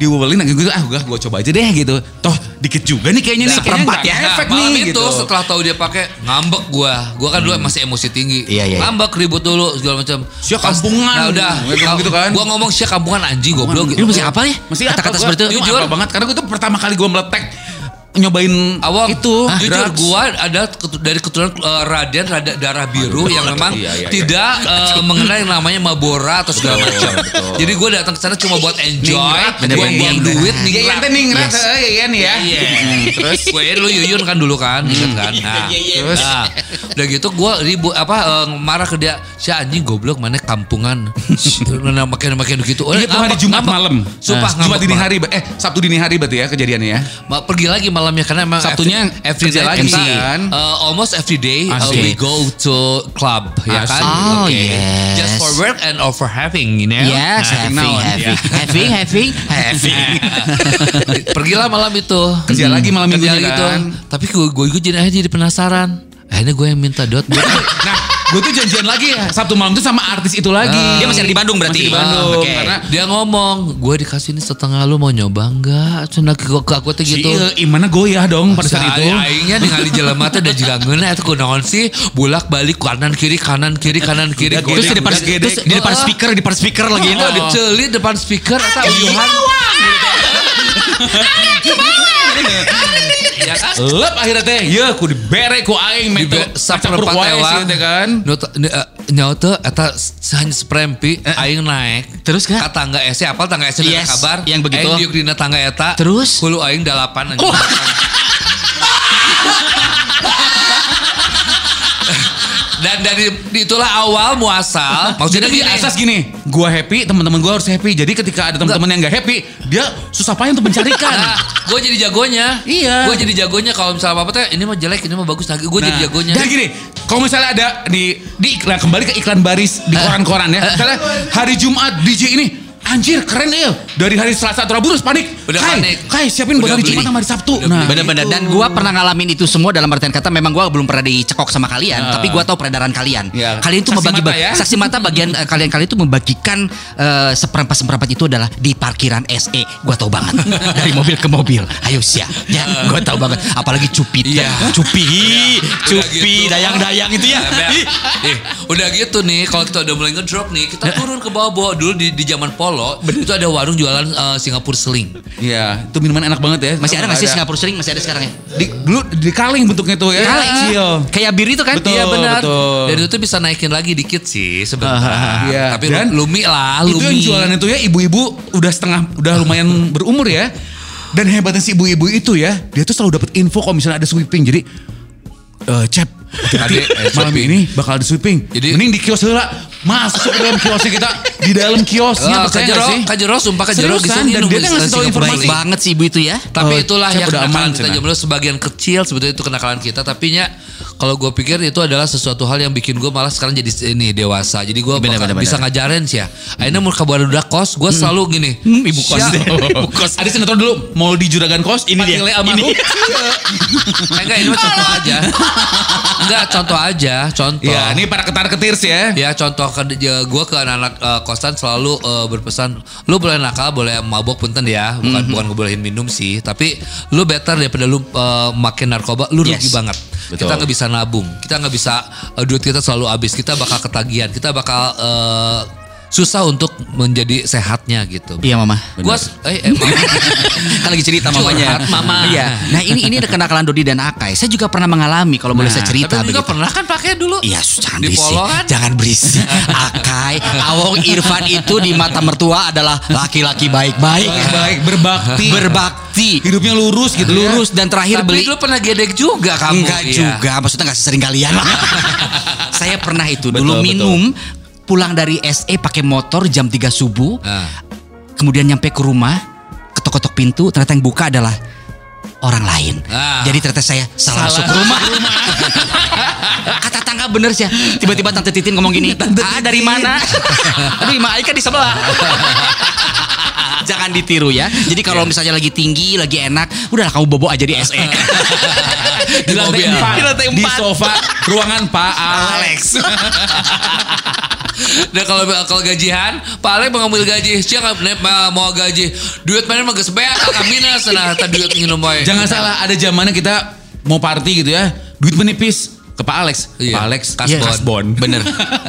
[SPEAKER 1] diwolin lagi gue tuh ah gue coba aja deh gitu toh dikit juga nih kayaknya nih kayaknya
[SPEAKER 2] seperempat
[SPEAKER 1] nggak
[SPEAKER 2] ya.
[SPEAKER 1] efek
[SPEAKER 3] Nah, malam
[SPEAKER 1] nih
[SPEAKER 3] itu
[SPEAKER 1] gitu
[SPEAKER 3] setelah tahu dia pakai ngambek gua. Gua kan dulu masih emosi
[SPEAKER 2] Hmm.
[SPEAKER 3] tinggi.
[SPEAKER 2] Iya, iya, iya.
[SPEAKER 3] Ngambek ribut dulu segala macam.
[SPEAKER 1] Sia
[SPEAKER 3] Pas-
[SPEAKER 1] kampungan.
[SPEAKER 3] Nah, udah.
[SPEAKER 1] Gua bilang gitu kan.
[SPEAKER 3] Gua ngomong sia kampungan anjing goblok
[SPEAKER 2] Lu
[SPEAKER 3] gitu.
[SPEAKER 2] masih apa ya?
[SPEAKER 1] Masih
[SPEAKER 2] Kata-kata
[SPEAKER 1] apa,
[SPEAKER 2] seperti
[SPEAKER 1] gua-
[SPEAKER 2] itu.
[SPEAKER 1] gua
[SPEAKER 3] Jujur.
[SPEAKER 1] apa banget karena gue tuh pertama kali gue meletek nyobain
[SPEAKER 3] Awal Ah,
[SPEAKER 1] itu
[SPEAKER 3] Hah? jujur
[SPEAKER 1] Ah, drugs. Ah,
[SPEAKER 3] gua ada ketu- dari keturunan eh, Raden rada darah biru yang memang
[SPEAKER 1] iya, iya, iya.
[SPEAKER 3] tidak eh, mengenal yang namanya Mabora atau segala macam. Jadi gua datang ke sana cuma buat enjoy,
[SPEAKER 1] Ningrat,
[SPEAKER 2] bener-bener.
[SPEAKER 3] buang-buang duit,
[SPEAKER 1] Iya, iya,
[SPEAKER 3] ningrat.
[SPEAKER 1] teh ningrat,
[SPEAKER 2] Yes.
[SPEAKER 1] eh, iya nih ya.
[SPEAKER 3] Iya. Terus gue dulu Yuyun kan dulu kan, ingat kan.
[SPEAKER 1] Iya,
[SPEAKER 3] Nah, terus nah, udah gitu gue ribu apa eh, marah ke dia, si anjing goblok mana kampungan. Nah, makin makin gitu. Oh,
[SPEAKER 1] Iya tuh hari Jumat malam.
[SPEAKER 3] Sumpah
[SPEAKER 1] Nah, Jumat
[SPEAKER 3] ngambek
[SPEAKER 1] dini
[SPEAKER 3] banget.
[SPEAKER 1] hari, ba- eh Sabtu dini hari berarti ya kejadiannya ya.
[SPEAKER 3] Ma- pergi lagi malamnya karena emang
[SPEAKER 1] Sabtunya
[SPEAKER 3] every, every
[SPEAKER 1] kerja
[SPEAKER 3] night
[SPEAKER 1] lagi
[SPEAKER 3] kita,
[SPEAKER 1] kan?
[SPEAKER 3] uh, almost every day uh,
[SPEAKER 1] Asik.
[SPEAKER 3] we go to club ya
[SPEAKER 1] Asik.
[SPEAKER 3] kan
[SPEAKER 2] Oh,
[SPEAKER 3] Oke.
[SPEAKER 2] yes.
[SPEAKER 3] just for work and or for having you know
[SPEAKER 2] Yes,
[SPEAKER 1] Nah,
[SPEAKER 2] having,
[SPEAKER 1] now,
[SPEAKER 2] having,
[SPEAKER 1] ya.
[SPEAKER 2] having, having, having.
[SPEAKER 3] pergilah malam itu Hmm.
[SPEAKER 1] Kerja lagi malam
[SPEAKER 3] Kerja
[SPEAKER 1] minggunya
[SPEAKER 3] gitu.
[SPEAKER 1] kan.
[SPEAKER 3] tapi gue gue gue jadi akhirnya jadi penasaran akhirnya gue yang minta dot gue
[SPEAKER 1] Nah, gue tuh janjian lagi ya Sabtu malam tuh sama artis itu lagi.
[SPEAKER 2] Ah. Dia masih ada di Bandung berarti. Ah,
[SPEAKER 1] Masih di Bandung
[SPEAKER 2] Oke.
[SPEAKER 1] karena
[SPEAKER 3] dia ngomong gue dikasih ini setengah lu mau nyoba enggak cina ke ke aku tuh
[SPEAKER 1] gitu.
[SPEAKER 3] gitu
[SPEAKER 1] Imana goyah dong pada
[SPEAKER 2] Iya,
[SPEAKER 1] saat itu.
[SPEAKER 3] Aingnya ningali jelema teh da jigangeunna eta kunaon sih bolak-balik kanan kiri kanan kiri kanan kiri
[SPEAKER 1] Terus
[SPEAKER 2] Terus
[SPEAKER 1] Ah.
[SPEAKER 2] di
[SPEAKER 3] Goreng,
[SPEAKER 2] depan
[SPEAKER 3] goreng.
[SPEAKER 2] terus di depan
[SPEAKER 3] Heeh.
[SPEAKER 2] speaker, di depan speaker
[SPEAKER 1] Oh.
[SPEAKER 2] lagi
[SPEAKER 3] Gitu
[SPEAKER 2] itu.
[SPEAKER 3] ada celi depan speaker atau uyuhan. Ya kan?
[SPEAKER 1] Lep akhirnya teh, ya aku dibere ku aing
[SPEAKER 3] Di
[SPEAKER 1] metu.
[SPEAKER 3] be- saperempat
[SPEAKER 1] sih
[SPEAKER 3] ewang.
[SPEAKER 1] teh kan.
[SPEAKER 3] Nu teu- nu, eh, Nyawa tuh eta hanya seprempi aing naik.
[SPEAKER 2] Terus
[SPEAKER 3] Ka
[SPEAKER 2] kan?
[SPEAKER 3] tangga S apal tangga S ada
[SPEAKER 2] Yes,
[SPEAKER 3] kabar.
[SPEAKER 2] yang begitu.
[SPEAKER 3] Aing diuk dina tangga eta.
[SPEAKER 2] Terus?
[SPEAKER 3] Hulu aing dalapan anjing. Dan dari itulah awal muasal. Maksudnya
[SPEAKER 1] Jadi
[SPEAKER 3] di
[SPEAKER 1] asas gini, gua happy, teman-teman gua harus happy. Jadi ketika ada teman-teman yang gak happy, dia susah payah untuk
[SPEAKER 3] Nah,
[SPEAKER 1] mencarikan.
[SPEAKER 3] gue jadi jagonya.
[SPEAKER 1] Iya.
[SPEAKER 3] Gue jadi jagonya kalau misalnya apa-apa teh ini mah jelek, ini mah bagus. Nah, gue jadi
[SPEAKER 1] Nah,
[SPEAKER 3] jagonya.
[SPEAKER 1] Dan gini, kalau misalnya ada di di iklan kembali ke iklan baris
[SPEAKER 3] Eh,
[SPEAKER 1] di koran-koran ya. Misalnya hari Jumat DJ ini anjir keren ya. Dari hari Selasa atau Rabu terus panik.
[SPEAKER 3] Udah
[SPEAKER 1] Kai,
[SPEAKER 3] panik.
[SPEAKER 1] Kai siapin buat
[SPEAKER 3] Udah
[SPEAKER 1] hari
[SPEAKER 3] beli.
[SPEAKER 1] Jumat sama hari Sabtu.
[SPEAKER 3] Udah
[SPEAKER 1] nah,
[SPEAKER 3] beli.
[SPEAKER 2] Bener-bener dan gua pernah ngalamin itu semua dalam artian kata memang gua belum pernah dicekok sama kalian tapi gua tahu peredaran kalian.
[SPEAKER 1] Iya.
[SPEAKER 2] Kalian itu
[SPEAKER 1] Ah. Saksi
[SPEAKER 2] membagi
[SPEAKER 1] mata ya.
[SPEAKER 2] saksi mata bagian eh, kalian kalian itu membagikan eh, seperempat-seperempat itu adalah di parkiran SE. Gua tahu banget dari mobil ke mobil. Ayo sia. Ya,
[SPEAKER 1] Ah.
[SPEAKER 2] gua tahu banget apalagi Cupiter,
[SPEAKER 3] Iya.
[SPEAKER 2] Cupi,
[SPEAKER 3] Udah
[SPEAKER 2] Cupi,
[SPEAKER 3] gitu.
[SPEAKER 2] dayang-dayang itu
[SPEAKER 1] Iya,
[SPEAKER 2] ya.
[SPEAKER 3] Nah,
[SPEAKER 2] Ih.
[SPEAKER 3] eh, udah gitu nih kalau kita udah mulai ngedrop nih kita turun ke bawah bawah dulu di, di zaman polo itu ada warung jualan eh, Singapura seling
[SPEAKER 1] Iya, itu minuman enak banget ya.
[SPEAKER 2] Masih ada nggak sih
[SPEAKER 1] Ada.
[SPEAKER 2] Singapura sering masih ada sekarang ya?
[SPEAKER 1] Di, dulu di kaling bentuknya tuh ya.
[SPEAKER 2] Kaling.
[SPEAKER 1] Kecil.
[SPEAKER 2] Kayak bir itu kan?
[SPEAKER 1] Betul,
[SPEAKER 2] Iya, benar.
[SPEAKER 1] betul.
[SPEAKER 3] dan itu bisa naikin lagi dikit
[SPEAKER 1] Ah,
[SPEAKER 3] sih sebentar
[SPEAKER 1] iya.
[SPEAKER 3] tapi
[SPEAKER 1] Dan
[SPEAKER 3] lumi lah lumi
[SPEAKER 1] Itu
[SPEAKER 3] Iya,
[SPEAKER 1] yang jualan itu ya ibu-ibu udah setengah udah lumayan berumur ya. Dan hebatnya si ibu-ibu itu ya, dia tuh selalu dapat info kalau misalnya ada sweeping. Jadi eh Cep,
[SPEAKER 3] Tadi, eh,
[SPEAKER 1] malam
[SPEAKER 3] sweeping.
[SPEAKER 1] ini bakal ada sweeping.
[SPEAKER 3] Jadi-
[SPEAKER 1] Mending di kios heula. Masuk ke dalam kiosnya kita di dalam kiosnya
[SPEAKER 3] Ah,
[SPEAKER 1] percaya
[SPEAKER 3] kajero,
[SPEAKER 1] nggak sih?
[SPEAKER 3] kajero sumpah kajero
[SPEAKER 1] Seriusan, kan? dan dia nggak ngasih tahu informasi.
[SPEAKER 2] Baik banget sih ibu itu ya.
[SPEAKER 3] Tapi
[SPEAKER 1] Oh,
[SPEAKER 3] itulah
[SPEAKER 1] Cep
[SPEAKER 3] ya
[SPEAKER 1] udah
[SPEAKER 3] kenakalan
[SPEAKER 1] aman,
[SPEAKER 3] kita
[SPEAKER 1] Cina.
[SPEAKER 3] jomblo sebagian kecil sebetulnya itu kenakalan kita. Tapi nya kalau gue pikir itu adalah sesuatu hal yang bikin gue malah sekarang jadi ini dewasa. Jadi gue
[SPEAKER 2] Bener,
[SPEAKER 3] bakal
[SPEAKER 2] bener,
[SPEAKER 3] bisa
[SPEAKER 2] bener.
[SPEAKER 3] ngajarin sih ya. Akhirnya mau kabar udah kos, gue selalu gini.
[SPEAKER 2] ibu kos
[SPEAKER 3] "Sia,
[SPEAKER 2] deh."
[SPEAKER 1] Hmm. Ibu kos. Ada sinetron dulu mau di juragan kos. Ini dia. Ini.
[SPEAKER 3] Patile almarhum. Eh, Enggak, ini mah contoh aja. Enggak, contoh aja, contoh.
[SPEAKER 1] Ya ini para ketar ketir sih ya.
[SPEAKER 3] Ya contoh ke ya, gue ke anak-anak eh, kosan selalu eh, berpesan lu boleh nakal boleh mabok punten ya bukan
[SPEAKER 2] Mhm.
[SPEAKER 3] bukan ngebolehin minum sih tapi lu better daripada lu eh, makin narkoba lu rugi
[SPEAKER 2] Yes.
[SPEAKER 3] banget kita nggak bisa nabung kita nggak bisa eh, duit kita selalu habis kita bakal ketagihan kita bakal eh, susah untuk menjadi sehatnya gitu
[SPEAKER 2] Iya mama.
[SPEAKER 3] gue eh, eh, maaf.
[SPEAKER 2] kan lagi cerita mamanya.
[SPEAKER 3] Curhat, Mama.
[SPEAKER 2] Iya. Nah ini ini ada kenakalan Dodi dan Akai. Saya juga pernah mengalami kalau boleh saya cerita.
[SPEAKER 3] Nah, tapi lu juga
[SPEAKER 2] begitu.
[SPEAKER 3] pernah kan pakai dulu
[SPEAKER 2] Iya, sus, jangan
[SPEAKER 3] Di
[SPEAKER 2] berisik.
[SPEAKER 3] polo kan?
[SPEAKER 2] Jangan berisik. Akai, Awong Irfan itu di mata mertua adalah laki-laki baik-baik.
[SPEAKER 1] Baik berbakti.
[SPEAKER 2] Berbakti.
[SPEAKER 1] Hidupnya lurus gitu.
[SPEAKER 2] Lurus dan terakhir
[SPEAKER 3] tapi
[SPEAKER 2] Iya, beli
[SPEAKER 3] lu pernah gedek juga kamu
[SPEAKER 2] Enggak
[SPEAKER 3] Iya.
[SPEAKER 2] juga, maksudnya enggak sesering kalian lah. Saya pernah itu
[SPEAKER 1] Betul,
[SPEAKER 2] dulu
[SPEAKER 1] betul.
[SPEAKER 2] minum pulang dari SE pakai motor jam 3 subuh.
[SPEAKER 3] Ah.
[SPEAKER 2] Kemudian nyampe ke rumah, ketok-ketok pintu, ternyata yang buka adalah orang lain.
[SPEAKER 3] Ah.
[SPEAKER 2] Jadi ternyata saya salah, masuk ke rumah. Kata tangga bener sih. ya. Tiba-tiba Tante Titin ngomong gini, "Ah, dari mana?" Aduh, Ima Aika di sebelah. Jangan ditiru ya. Jadi kalau misalnya lagi tinggi, lagi enak, udahlah kamu bobo aja di SE.
[SPEAKER 1] Di lantai
[SPEAKER 3] mobil.
[SPEAKER 1] empat.
[SPEAKER 2] Di lantai
[SPEAKER 1] Di
[SPEAKER 2] empat.
[SPEAKER 1] sofa ruangan Pak Alex.
[SPEAKER 2] Alex.
[SPEAKER 3] Dan kalau kalau gajian, Pak Ale mau ngambil gaji, sih nggak ne- ma- mau gaji. Duit mana mah geus beak, kakak minus nah tadi duit minum wae.
[SPEAKER 1] Jangan salah ada zamannya kita mau party gitu ya. Duit menipis ke Pak Alex.
[SPEAKER 3] Iya.
[SPEAKER 1] Pak Alex
[SPEAKER 3] Kasbon.
[SPEAKER 1] kasbon.
[SPEAKER 2] Bener.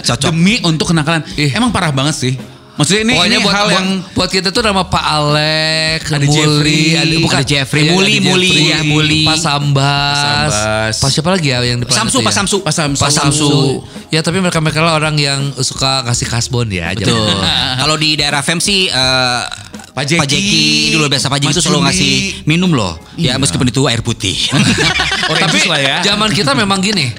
[SPEAKER 1] Cocok. Demi untuk kenakalan.
[SPEAKER 3] Iya.
[SPEAKER 1] Emang parah banget sih. Maksudnya ini,
[SPEAKER 3] Pokoknya
[SPEAKER 1] ini
[SPEAKER 3] buat,
[SPEAKER 1] hal
[SPEAKER 3] buat-
[SPEAKER 1] yang
[SPEAKER 3] buat kita tuh nama Pak Alek,
[SPEAKER 1] Ada
[SPEAKER 3] Muli,
[SPEAKER 1] Jeffrey,
[SPEAKER 3] ada bukan
[SPEAKER 2] ada Jeffrey,
[SPEAKER 3] Iya,
[SPEAKER 2] Muli,
[SPEAKER 3] ada
[SPEAKER 2] Muli,
[SPEAKER 3] Jeffrey,
[SPEAKER 2] ya, Muli.
[SPEAKER 3] Pak Sambas,
[SPEAKER 1] Pak Sambas.
[SPEAKER 3] Pak siapa lagi ya yang di planet
[SPEAKER 2] Samsu,
[SPEAKER 3] itu
[SPEAKER 2] Pak
[SPEAKER 3] ya?
[SPEAKER 2] Samsu.
[SPEAKER 1] Pak Samsu.
[SPEAKER 3] Pak Samsu. Ya tapi mereka mereka lah orang yang suka ngasih kasbon ya. jangan-
[SPEAKER 2] Betul. Kalau di daerah Fem sih eh,
[SPEAKER 1] Pak Jeki.
[SPEAKER 2] dulu biasa Pak Jeki
[SPEAKER 1] Mas
[SPEAKER 2] itu selalu
[SPEAKER 1] Jumi.
[SPEAKER 2] ngasih minum loh.
[SPEAKER 1] Iya.
[SPEAKER 2] Ya meskipun itu air putih.
[SPEAKER 1] Orange juice
[SPEAKER 3] Tapi
[SPEAKER 1] lah ya.
[SPEAKER 3] zaman kita memang gini.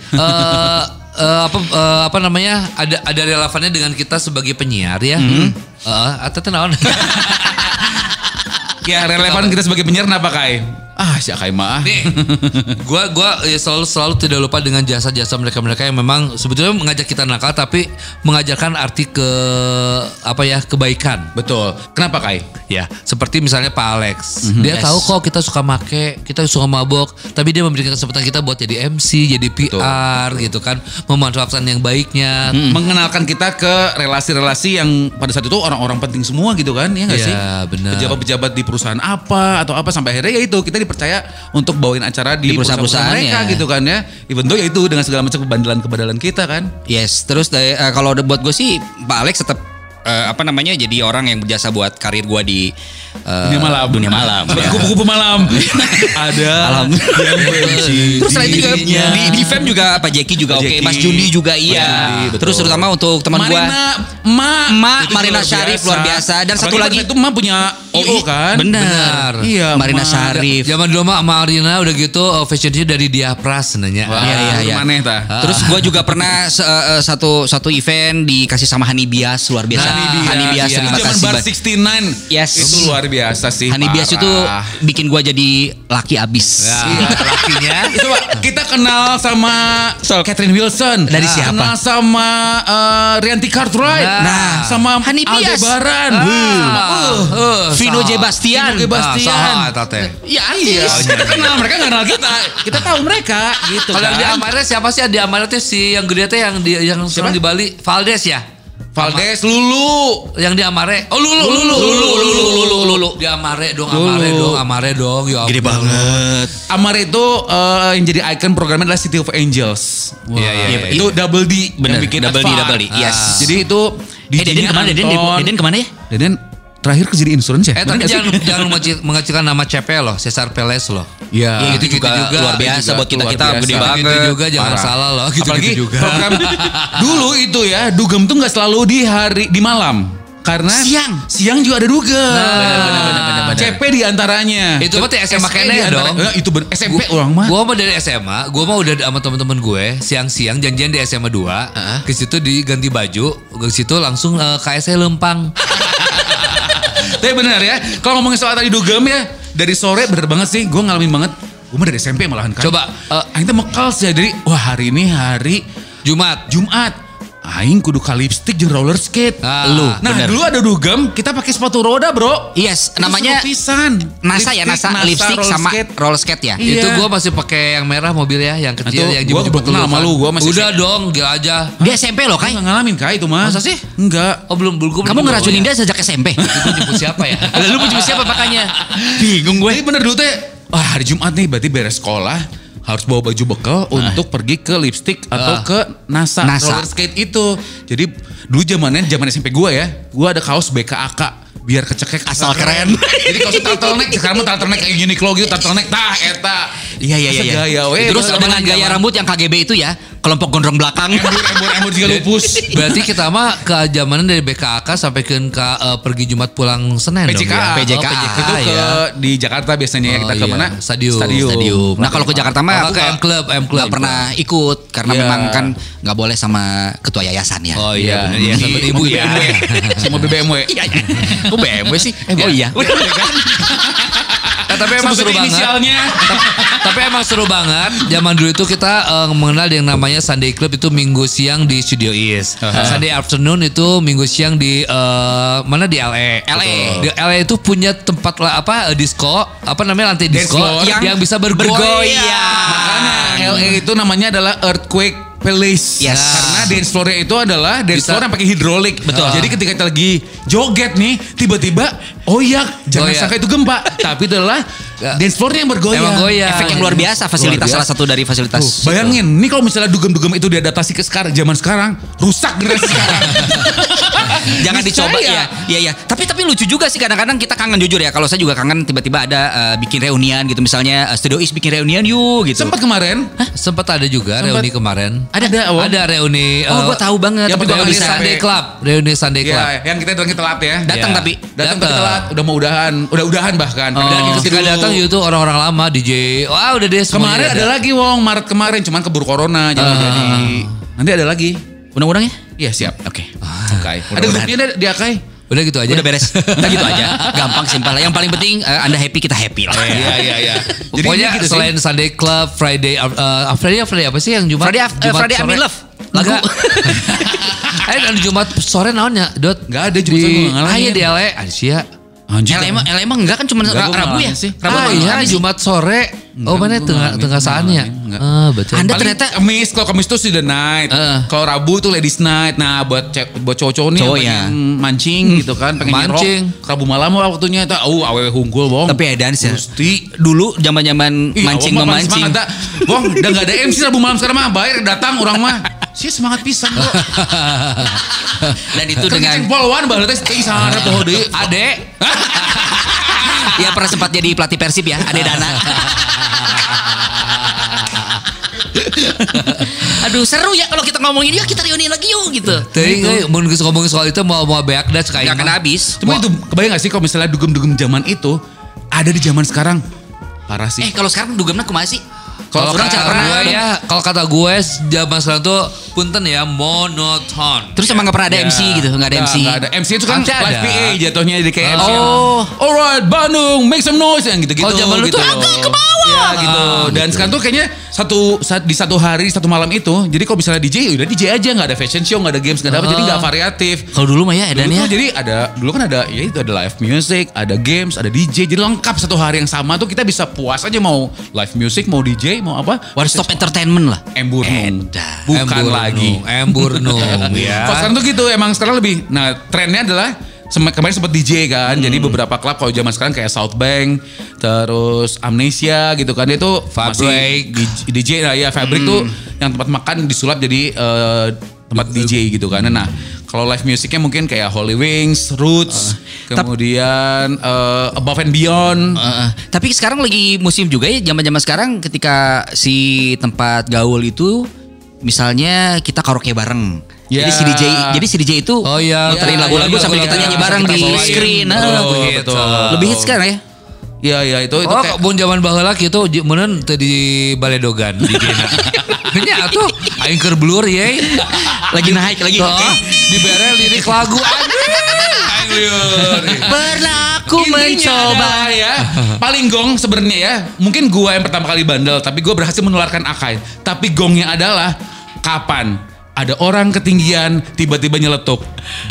[SPEAKER 3] eh, eh, apa eh, apa namanya ada ada relevannya dengan kita sebagai penyiar ya.
[SPEAKER 1] Hmm.
[SPEAKER 3] Heeh. atau tenaon.
[SPEAKER 1] ya relevan kita sebagai penyiar kenapa Kai? Ah si Kai mah. ah.
[SPEAKER 3] Nih, gua gua eh, selalu selalu tidak lupa dengan jasa-jasa mereka-mereka yang memang sebetulnya mengajak kita nakal tapi mengajarkan arti ke apa ya kebaikan.
[SPEAKER 1] Betul. Kenapa Kai?
[SPEAKER 3] Ya, seperti misalnya Pak Alex.
[SPEAKER 1] Mhm.
[SPEAKER 3] Dia
[SPEAKER 2] Yes.
[SPEAKER 3] tahu kok kita suka make, kita suka mabok, tapi dia memberikan kesempatan kita buat jadi MC, jadi PR gitu kan, memanfaatkan yang
[SPEAKER 1] Mhm.
[SPEAKER 3] baiknya.
[SPEAKER 1] Hmm. Mengenalkan kita ke relasi-relasi yang pada saat itu orang-orang penting semua gitu kan, ya nggak
[SPEAKER 3] Iya,
[SPEAKER 1] sih?
[SPEAKER 2] Nah.
[SPEAKER 3] benar.
[SPEAKER 1] Pejabat-pejabat di perusahaan apa atau apa sampai akhirnya ya itu kita dipercaya untuk bawain acara di,
[SPEAKER 2] Di perusahaan-perusahaan
[SPEAKER 1] mereka
[SPEAKER 2] ya.
[SPEAKER 1] gitu kan ya. Even though ya itu dengan segala macam kebandelan-kebandelan kita kan.
[SPEAKER 2] yes, terus dari- eh, kalau ada buat gue sih Pak Alex tetap eh, apa namanya jadi orang yang berjasa buat karir gua di eh,
[SPEAKER 1] Dunia malam. Iya.
[SPEAKER 2] Dunia malam.
[SPEAKER 1] Seperti
[SPEAKER 2] ya.
[SPEAKER 1] kupu-kupu malam. Ada.
[SPEAKER 2] Alam.
[SPEAKER 1] yang benci
[SPEAKER 2] Terus selain itu juga
[SPEAKER 1] dirinya.
[SPEAKER 2] di, di Fem juga Pak Jeki juga
[SPEAKER 1] Pak
[SPEAKER 2] oke,
[SPEAKER 1] Jeki.
[SPEAKER 2] Mas Juni juga
[SPEAKER 1] Mas Juni,
[SPEAKER 2] iya.
[SPEAKER 1] betul.
[SPEAKER 2] terus terutama untuk teman gua
[SPEAKER 1] Marina, Ma,
[SPEAKER 2] Ma,
[SPEAKER 1] Itu
[SPEAKER 2] Marina
[SPEAKER 1] luar
[SPEAKER 2] Syarif luar biasa. Dan satu
[SPEAKER 1] Apalagi
[SPEAKER 2] lagi- Iya.
[SPEAKER 1] pada saat itu Ma punya OI kan.
[SPEAKER 2] Oh, Benar.
[SPEAKER 3] Benar.
[SPEAKER 1] Iya,
[SPEAKER 2] Marina
[SPEAKER 1] Ma.
[SPEAKER 2] Syarif.
[SPEAKER 3] Zaman dulu mah sama Arina udah gitu eh, fashionnya dari Diapra sebenarnya.
[SPEAKER 1] Wah,
[SPEAKER 2] Iya, iya, iya.
[SPEAKER 1] Maneh tah.
[SPEAKER 2] Ah. Terus gue juga pernah se- eh, eh, satu satu event dikasih sama Hani Bias luar biasa.
[SPEAKER 3] Nah, Hani Bias,
[SPEAKER 2] Hani Bias
[SPEAKER 3] iya.
[SPEAKER 2] terima
[SPEAKER 1] Zaman
[SPEAKER 2] kasih.
[SPEAKER 1] Bar
[SPEAKER 2] banyak.
[SPEAKER 1] 69.
[SPEAKER 2] Yes.
[SPEAKER 1] Itu luar biasa sih.
[SPEAKER 2] Hani Bias
[SPEAKER 1] parah.
[SPEAKER 2] itu bikin gue jadi laki abis.
[SPEAKER 3] Iya, lakinya.
[SPEAKER 1] Coba kita kenal sama Catherine Wilson.
[SPEAKER 2] Dari
[SPEAKER 1] Nah.
[SPEAKER 2] siapa?
[SPEAKER 1] Kenal sama eh, Rianti Cartwright.
[SPEAKER 3] Nah.
[SPEAKER 1] sama
[SPEAKER 2] Hani Bias.
[SPEAKER 1] Aldebaran.
[SPEAKER 3] Ah.
[SPEAKER 1] Uh, uh.
[SPEAKER 2] Vino J.
[SPEAKER 3] Saha.
[SPEAKER 2] Bastian.
[SPEAKER 1] Vino J. Bastian.
[SPEAKER 3] Ah, saha eta teh. Nah,
[SPEAKER 1] Ya, iya. Kita kenal mereka nggak kenal
[SPEAKER 3] gitu,
[SPEAKER 1] kita. Kita tahu mereka gitu.
[SPEAKER 3] Kalau yang di
[SPEAKER 1] kan.
[SPEAKER 3] Amarnya siapa sih? Yang Di Amarnya tuh si yang gede teh yang di yang
[SPEAKER 1] Siapa?
[SPEAKER 3] sekarang di Bali, Valdes ya.
[SPEAKER 1] Valdes Lulu.
[SPEAKER 3] Yang di Amare. Oh, lulu lulu lulu lulu lulu lulu. Di Amare dong, Amare
[SPEAKER 1] Lulu.
[SPEAKER 3] dong, Amare dong. Ya ampun.
[SPEAKER 2] banget.
[SPEAKER 1] Amar itu eh, yang jadi ikon programnya adalah City of Angels.
[SPEAKER 3] Wah. Iya, iya, iya.
[SPEAKER 1] Itu double D
[SPEAKER 2] Bener,
[SPEAKER 1] yang bikin
[SPEAKER 2] double D,
[SPEAKER 1] Advan.
[SPEAKER 2] double D, yes.
[SPEAKER 1] Ah. Jadi itu
[SPEAKER 2] Eh Deden kemana? Deden, Deden, Deden kemana ya?
[SPEAKER 1] Deden terakhir ke jadi insurance ya? Bener
[SPEAKER 3] Eh tapi
[SPEAKER 1] nggak sih?
[SPEAKER 3] jangan jangan mengecil- mengecilkan nama CP loh, Cesar Perez loh.
[SPEAKER 1] Iya.
[SPEAKER 2] Ya, itu
[SPEAKER 3] gitu
[SPEAKER 2] juga,
[SPEAKER 3] juga,
[SPEAKER 2] luar biasa
[SPEAKER 1] juga
[SPEAKER 2] buat kita
[SPEAKER 1] luar
[SPEAKER 2] kita
[SPEAKER 1] biasa.
[SPEAKER 2] gede
[SPEAKER 1] Gitu
[SPEAKER 2] banget.
[SPEAKER 3] Gitu juga jangan
[SPEAKER 1] Parah.
[SPEAKER 3] salah loh, gitu,
[SPEAKER 1] Apalagi
[SPEAKER 3] gitu juga.
[SPEAKER 1] program dulu itu ya dugem tuh nggak selalu di hari di malam karena
[SPEAKER 2] Siang.
[SPEAKER 1] siang juga ada dugem.
[SPEAKER 3] bener, bener, bener, bener, bener.
[SPEAKER 1] CP di antaranya.
[SPEAKER 3] Itu berarti SMA kene
[SPEAKER 1] di antara-
[SPEAKER 3] ya dong.
[SPEAKER 1] Eh, itu bener. SMP orang mah.
[SPEAKER 3] Gua mah dari SMA, gua mah udah sama teman-teman gue siang-siang janjian di SMA 2. Ke situ diganti baju, ke situ langsung eh, KSE Lempang.
[SPEAKER 1] Ah, Tapi benar ya. Kalau ngomongin soal tadi dugem ya, dari sore bener banget sih. Gue ngalamin banget Gue mah dari SMP malahan kan.
[SPEAKER 3] Coba, eh,
[SPEAKER 1] Aing teh mekal sih dari wah hari ini hari
[SPEAKER 3] Jumat.
[SPEAKER 1] Jumat. Aing kudu kalipstik jeung roller skate.
[SPEAKER 3] Ah,
[SPEAKER 1] Lu. Nah,
[SPEAKER 2] bener.
[SPEAKER 1] dulu ada dugem kita pakai sepatu roda, Bro.
[SPEAKER 2] Yes,
[SPEAKER 1] Itu
[SPEAKER 2] namanya
[SPEAKER 1] seru pisan.
[SPEAKER 2] NASA ya, NASA, lipstick
[SPEAKER 1] roller
[SPEAKER 2] sama
[SPEAKER 1] skate.
[SPEAKER 2] roller skate ya.
[SPEAKER 1] Iya.
[SPEAKER 3] Itu gua masih pakai yang merah mobil ya, yang
[SPEAKER 1] Itu
[SPEAKER 3] kecil yang
[SPEAKER 1] gua
[SPEAKER 3] jemput-jemput
[SPEAKER 1] kenal sama
[SPEAKER 3] kan.
[SPEAKER 1] lu, gua masih
[SPEAKER 3] Udah dong, gila aja.
[SPEAKER 2] Dia SMP loh,
[SPEAKER 1] Kayak
[SPEAKER 2] Kai.
[SPEAKER 1] nggak ngalamin Kai itu mah.
[SPEAKER 3] Masa sih?
[SPEAKER 1] Enggak.
[SPEAKER 3] Oh belum, belum. gua
[SPEAKER 2] Kamu
[SPEAKER 3] belum
[SPEAKER 2] ngeracunin
[SPEAKER 3] bawa
[SPEAKER 2] dia sejak SMP.
[SPEAKER 3] ya. Gua jemput siapa ya?
[SPEAKER 2] Lalu mau jemput siapa makanya? Bingung
[SPEAKER 1] Jadi bener dulu teh, wah hari Jumat nih berarti beres sekolah harus bawa baju bekal untuk pergi ke lipstick atau
[SPEAKER 3] Ah.
[SPEAKER 1] ke NASA,
[SPEAKER 2] Nah. NASA.
[SPEAKER 1] roller skate itu. Jadi dulu zamannya zaman SMP gua ya, gua ada kaos BKAK biar kecekek
[SPEAKER 2] Asal keren.
[SPEAKER 1] Jadi kaos turtleneck, sekarang mah turtleneck kayak Uniqlo gitu, turtleneck tah eta.
[SPEAKER 2] Iya iya iya.
[SPEAKER 1] Segaya
[SPEAKER 2] iya.
[SPEAKER 1] we,
[SPEAKER 2] Terus
[SPEAKER 1] bakalan
[SPEAKER 2] dengan gaya
[SPEAKER 1] jalan.
[SPEAKER 2] rambut yang KGB itu ya, kelompok gondrong belakang.
[SPEAKER 1] embur embur embur juga lupus.
[SPEAKER 3] Berarti kita mah ke zamanan dari BKAK sampai ke ke, eh, pergi Jumat pulang Senin dong.
[SPEAKER 1] PJK,
[SPEAKER 3] ya?
[SPEAKER 2] PJK.
[SPEAKER 3] Oh, PJK
[SPEAKER 1] itu ke
[SPEAKER 3] ya.
[SPEAKER 1] di Jakarta biasanya ya
[SPEAKER 3] Oh,
[SPEAKER 1] kita ke
[SPEAKER 3] iya.
[SPEAKER 1] mana?
[SPEAKER 3] Stadium.
[SPEAKER 1] Stadium.
[SPEAKER 2] Stadium. Nah kalau ke Jakarta mah
[SPEAKER 3] Kalau
[SPEAKER 2] aku
[SPEAKER 3] ke
[SPEAKER 2] nggak-
[SPEAKER 3] M Club, M Club.
[SPEAKER 2] nggak pernah ikut karena
[SPEAKER 1] Iya.
[SPEAKER 2] memang kan nggak boleh sama ketua yayasan ya.
[SPEAKER 3] Oh
[SPEAKER 1] Iya,
[SPEAKER 3] iya, bener.
[SPEAKER 1] iya,
[SPEAKER 3] iya,
[SPEAKER 1] sama
[SPEAKER 3] sempet ibu ya.
[SPEAKER 1] Sama BMW.
[SPEAKER 2] Iya. Kok BMW sih?
[SPEAKER 1] Ya.
[SPEAKER 2] Oh iya.
[SPEAKER 3] Eh, tapi emang seru
[SPEAKER 1] Sebutin
[SPEAKER 3] banget.
[SPEAKER 1] Inisialnya.
[SPEAKER 3] Tapi emang seru banget. Zaman dulu itu kita eh, mengenal yang namanya Sunday Club itu Minggu siang di Studio East. Sunday afternoon itu Minggu siang di eh, mana di LA.
[SPEAKER 2] LA.
[SPEAKER 3] Di LA itu punya tempat lah apa eh, disco, apa namanya lantai
[SPEAKER 1] Dance
[SPEAKER 3] disco
[SPEAKER 1] floor.
[SPEAKER 3] yang, bisa bergoyang. Ah.
[SPEAKER 1] Karena
[SPEAKER 2] Bergoyang.
[SPEAKER 1] LA itu namanya adalah Earthquake Palace.
[SPEAKER 2] Yes.
[SPEAKER 1] Karena dance floor itu adalah dance
[SPEAKER 3] Bisa.
[SPEAKER 1] floor yang pakai hidrolik.
[SPEAKER 3] Betul.
[SPEAKER 1] Jadi ketika kita lagi joget nih, tiba-tiba oyak. Jangan
[SPEAKER 3] Goyak.
[SPEAKER 1] sangka itu gempa. Tapi itu adalah dance floor yang bergoyang.
[SPEAKER 3] iya. Emang goyang.
[SPEAKER 2] Efek yang luar biasa, fasilitas
[SPEAKER 1] Oh, iya. Luar biasa.
[SPEAKER 2] salah satu dari fasilitas. Gitu.
[SPEAKER 1] Tuh, bayangin, nih kalau misalnya dugem-dugem itu diadaptasi ke sekarang, zaman sekarang, rusak generasi sekarang.
[SPEAKER 2] Jangan
[SPEAKER 1] Bisa
[SPEAKER 2] dicoba
[SPEAKER 1] ya.
[SPEAKER 2] ya. Iya iya. Tapi tapi lucu juga sih kadang-kadang kita kangen jujur ya. Kalau saya juga kangen tiba-tiba ada eh, bikin reunian gitu misalnya eh, Studio Is bikin reunian yuk gitu.
[SPEAKER 1] Sempat kemarin,
[SPEAKER 3] Sempat ada juga
[SPEAKER 1] Sempat.
[SPEAKER 3] reuni kemarin.
[SPEAKER 1] Ada. Ada, Om.
[SPEAKER 3] Ada reuni.
[SPEAKER 2] Oh,
[SPEAKER 3] eh,
[SPEAKER 2] gua tahu banget,
[SPEAKER 3] Yang
[SPEAKER 1] tapi gua
[SPEAKER 3] reuni
[SPEAKER 1] nggak bisa.
[SPEAKER 3] Sunday Club, reuni Sunday Club.
[SPEAKER 1] ya, yang kita datangnya telat ya.
[SPEAKER 2] Datang
[SPEAKER 3] Iya.
[SPEAKER 2] tapi
[SPEAKER 1] datang tapi
[SPEAKER 3] Datang.
[SPEAKER 1] telat, udah mau udahan, udah udahan bahkan.
[SPEAKER 3] Oh. Dan
[SPEAKER 1] Udahan gitu
[SPEAKER 3] ketika
[SPEAKER 1] dulu.
[SPEAKER 3] datang itu orang-orang lama DJ. Wah udah deh
[SPEAKER 1] Kemarin
[SPEAKER 3] semuanya
[SPEAKER 1] ada lagi Wong, Maret kemarin cuman keburu corona jadi
[SPEAKER 3] Ah.
[SPEAKER 1] jadi. Nanti ada lagi.
[SPEAKER 2] undang-undangnya?
[SPEAKER 1] Iya siap.
[SPEAKER 2] Oke.
[SPEAKER 1] Oke. Ada
[SPEAKER 2] mudah-mudahan.
[SPEAKER 1] grupnya di Akai.
[SPEAKER 3] Udah gitu aja.
[SPEAKER 2] Udah beres. Udah gitu aja. Gampang simpel. Yang paling penting eh, Anda happy kita happy lah. Gitu.
[SPEAKER 1] Iya iya iya. Jadi
[SPEAKER 3] Pokoknya
[SPEAKER 1] ini gitu sih.
[SPEAKER 3] selain Sunday Club, Friday, uh, uh, Friday, Friday apa sih yang Jumat?
[SPEAKER 2] Friday af- eh,
[SPEAKER 3] Jumat
[SPEAKER 2] Friday I'm
[SPEAKER 3] sore?
[SPEAKER 2] in love. Lagu.
[SPEAKER 3] Enggak. Eh dan Jumat sore naonnya, Dot?
[SPEAKER 1] Nggak ada, Jumat sore gua
[SPEAKER 3] Di-
[SPEAKER 1] nggak ngalamin.
[SPEAKER 3] Ah, iya di LA, ada sih ya.
[SPEAKER 1] Anjir,
[SPEAKER 2] LA emang, LA emang enggak kan cuma
[SPEAKER 1] Enggak, gua
[SPEAKER 2] Rabu ya?
[SPEAKER 1] ngalamin sih.
[SPEAKER 2] Rabu
[SPEAKER 3] ah
[SPEAKER 2] apa
[SPEAKER 3] iya
[SPEAKER 2] Kamis sih?
[SPEAKER 3] Jumat sore.
[SPEAKER 1] Enggak,
[SPEAKER 3] oh mana
[SPEAKER 1] gua
[SPEAKER 3] tengah
[SPEAKER 1] ngalamin,
[SPEAKER 3] tengah
[SPEAKER 1] gua
[SPEAKER 3] saannya?
[SPEAKER 1] ngalamin, enggak.
[SPEAKER 3] Ah betul.
[SPEAKER 2] Anda
[SPEAKER 1] Paling
[SPEAKER 2] ternyata-
[SPEAKER 1] Kamis kalau Kamis tuh sudah night.
[SPEAKER 3] Eh.
[SPEAKER 1] Kalau Rabu tuh ladies night. Nah, buat ce- buat cowok-cowok nih
[SPEAKER 2] Cowok
[SPEAKER 1] yang
[SPEAKER 2] ya.
[SPEAKER 1] pengen mancing gitu kan, pengen
[SPEAKER 3] Mancing.
[SPEAKER 1] nyerok. Rabu malam waktunya itu oh awewe hunggul, Bong.
[SPEAKER 2] Tapi ya dance ya.
[SPEAKER 1] Gusti.
[SPEAKER 2] Dulu zaman-zaman
[SPEAKER 1] Ih,
[SPEAKER 2] mancing
[SPEAKER 1] awang mah paling
[SPEAKER 2] memancing.
[SPEAKER 1] semangat, dah. Bong, udah gak ada MC Rabu malam sekarang mah. Bayar datang orang mah. Sih semangat pisan kok.
[SPEAKER 2] Dan itu dengan Ah.
[SPEAKER 1] Dengan polwan baheula teh teuing sarep poho deui.
[SPEAKER 3] Ade,
[SPEAKER 2] ya pernah sempat jadi pelatih Persib ya, Ade Dana. Aduh seru ya kalau kita ngomongin ya kita reuni lagi yuk gitu.
[SPEAKER 3] teuing euy mun geus ngomongin soal itu mau mau beak das kayak.
[SPEAKER 2] Gak akan habis.
[SPEAKER 1] Cuma itu kebayang gak sih kalau misalnya dugem-dugem zaman itu ada di zaman sekarang parah sih.
[SPEAKER 2] Eh kalau sekarang dugamnya kumaha sih?
[SPEAKER 3] Kalau
[SPEAKER 2] orang
[SPEAKER 3] kata
[SPEAKER 2] pernah.
[SPEAKER 3] gue ya, kalau kata gue zaman sekarang tuh punten ya monoton.
[SPEAKER 2] Terus emang gak pernah ada
[SPEAKER 1] Ya.
[SPEAKER 2] MC gitu, gak ada MC.
[SPEAKER 1] Nggak ada. MC itu kan
[SPEAKER 3] Ada.
[SPEAKER 1] live PA jatuhnya jadi kayak MC.
[SPEAKER 2] Oh.
[SPEAKER 1] Alright, Bandung, make some noise yang gitu-gitu.
[SPEAKER 3] Oh, zaman lu
[SPEAKER 1] gitu.
[SPEAKER 3] tuh agak ke bawah.
[SPEAKER 1] Ya, gitu.
[SPEAKER 3] Ah,
[SPEAKER 1] Dan sekarang tuh kayaknya satu saat di satu hari, satu malam itu. Jadi kalau misalnya DJ udah DJ aja nggak ada fashion show, nggak ada games, nggak ada apa, jadi
[SPEAKER 3] Ah.
[SPEAKER 1] nggak variatif.
[SPEAKER 2] Kalau dulu mah ya
[SPEAKER 1] Dulu
[SPEAKER 2] Edan ya.
[SPEAKER 1] tuh jadi ada dulu kan ada ya itu ada live music, ada games, ada DJ. Jadi lengkap satu hari yang sama tuh kita bisa puas aja mau live music, mau DJ, mau apa.
[SPEAKER 2] One Stop Entertainment lah.
[SPEAKER 1] Emburnung.
[SPEAKER 2] Edan.
[SPEAKER 1] Bukan lagi.
[SPEAKER 3] Emburnung ya.
[SPEAKER 1] Kalau sekarang tuh gitu, emang sekarang lebih. Nah, trennya adalah sem- kemarin sempat DJ kan, jadi
[SPEAKER 3] Hmm.
[SPEAKER 1] beberapa klub kalau zaman sekarang kayak South Bank, terus Amnesia gitu kan, itu
[SPEAKER 3] Fabric. Hmm.
[SPEAKER 1] masih di- DJ lah ya Fabric tuh yang tempat makan disulap jadi eh, tempat DJ gitu kan. Nah, kalau live musicnya mungkin kayak Holy Wings, Roots,
[SPEAKER 3] Ah.
[SPEAKER 2] tap-
[SPEAKER 1] kemudian eh, Above and Beyond.
[SPEAKER 2] Heeh. tapi sekarang lagi musim juga ya zaman-zaman sekarang ketika si tempat gaul itu misalnya kita karaoke bareng.
[SPEAKER 1] Ya.
[SPEAKER 2] Jadi si DJ jadi si DJ itu
[SPEAKER 3] Oh iya,
[SPEAKER 2] muterin
[SPEAKER 1] iya,
[SPEAKER 2] lagu-lagu
[SPEAKER 1] iya,
[SPEAKER 2] sambil
[SPEAKER 1] lagu-lagu
[SPEAKER 2] kita nyanyi
[SPEAKER 1] yang
[SPEAKER 2] bareng
[SPEAKER 1] kita
[SPEAKER 2] di
[SPEAKER 1] bawain.
[SPEAKER 2] screen. Ah, Heeh.
[SPEAKER 1] Betul,
[SPEAKER 3] begitu.
[SPEAKER 1] betul.
[SPEAKER 2] Lebih hits sekarang ya.
[SPEAKER 1] Iya, iya itu itu
[SPEAKER 3] Oh,
[SPEAKER 1] kayak-
[SPEAKER 3] mun zaman baheula kitu j- meuneun teu di Baledogan di Gena. Nya atuh aing keur blur ye.
[SPEAKER 2] Lagi naik lagi.
[SPEAKER 3] Tuh, dibere lirik lagu anjing. Aing
[SPEAKER 1] Iya, liur.
[SPEAKER 2] Pernah aku
[SPEAKER 1] Intinya
[SPEAKER 2] mencoba.
[SPEAKER 1] adalah ya paling gong sebenarnya ya mungkin gua yang pertama kali bandel tapi gua berhasil menularkan Akai tapi gongnya adalah kapan ada orang ketinggian tiba-tiba nyeletuk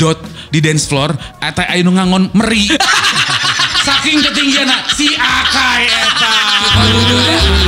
[SPEAKER 1] dot di dance floor atai ayu ngangon meri saking ketinggian si Akai eta
[SPEAKER 3] Malu juga.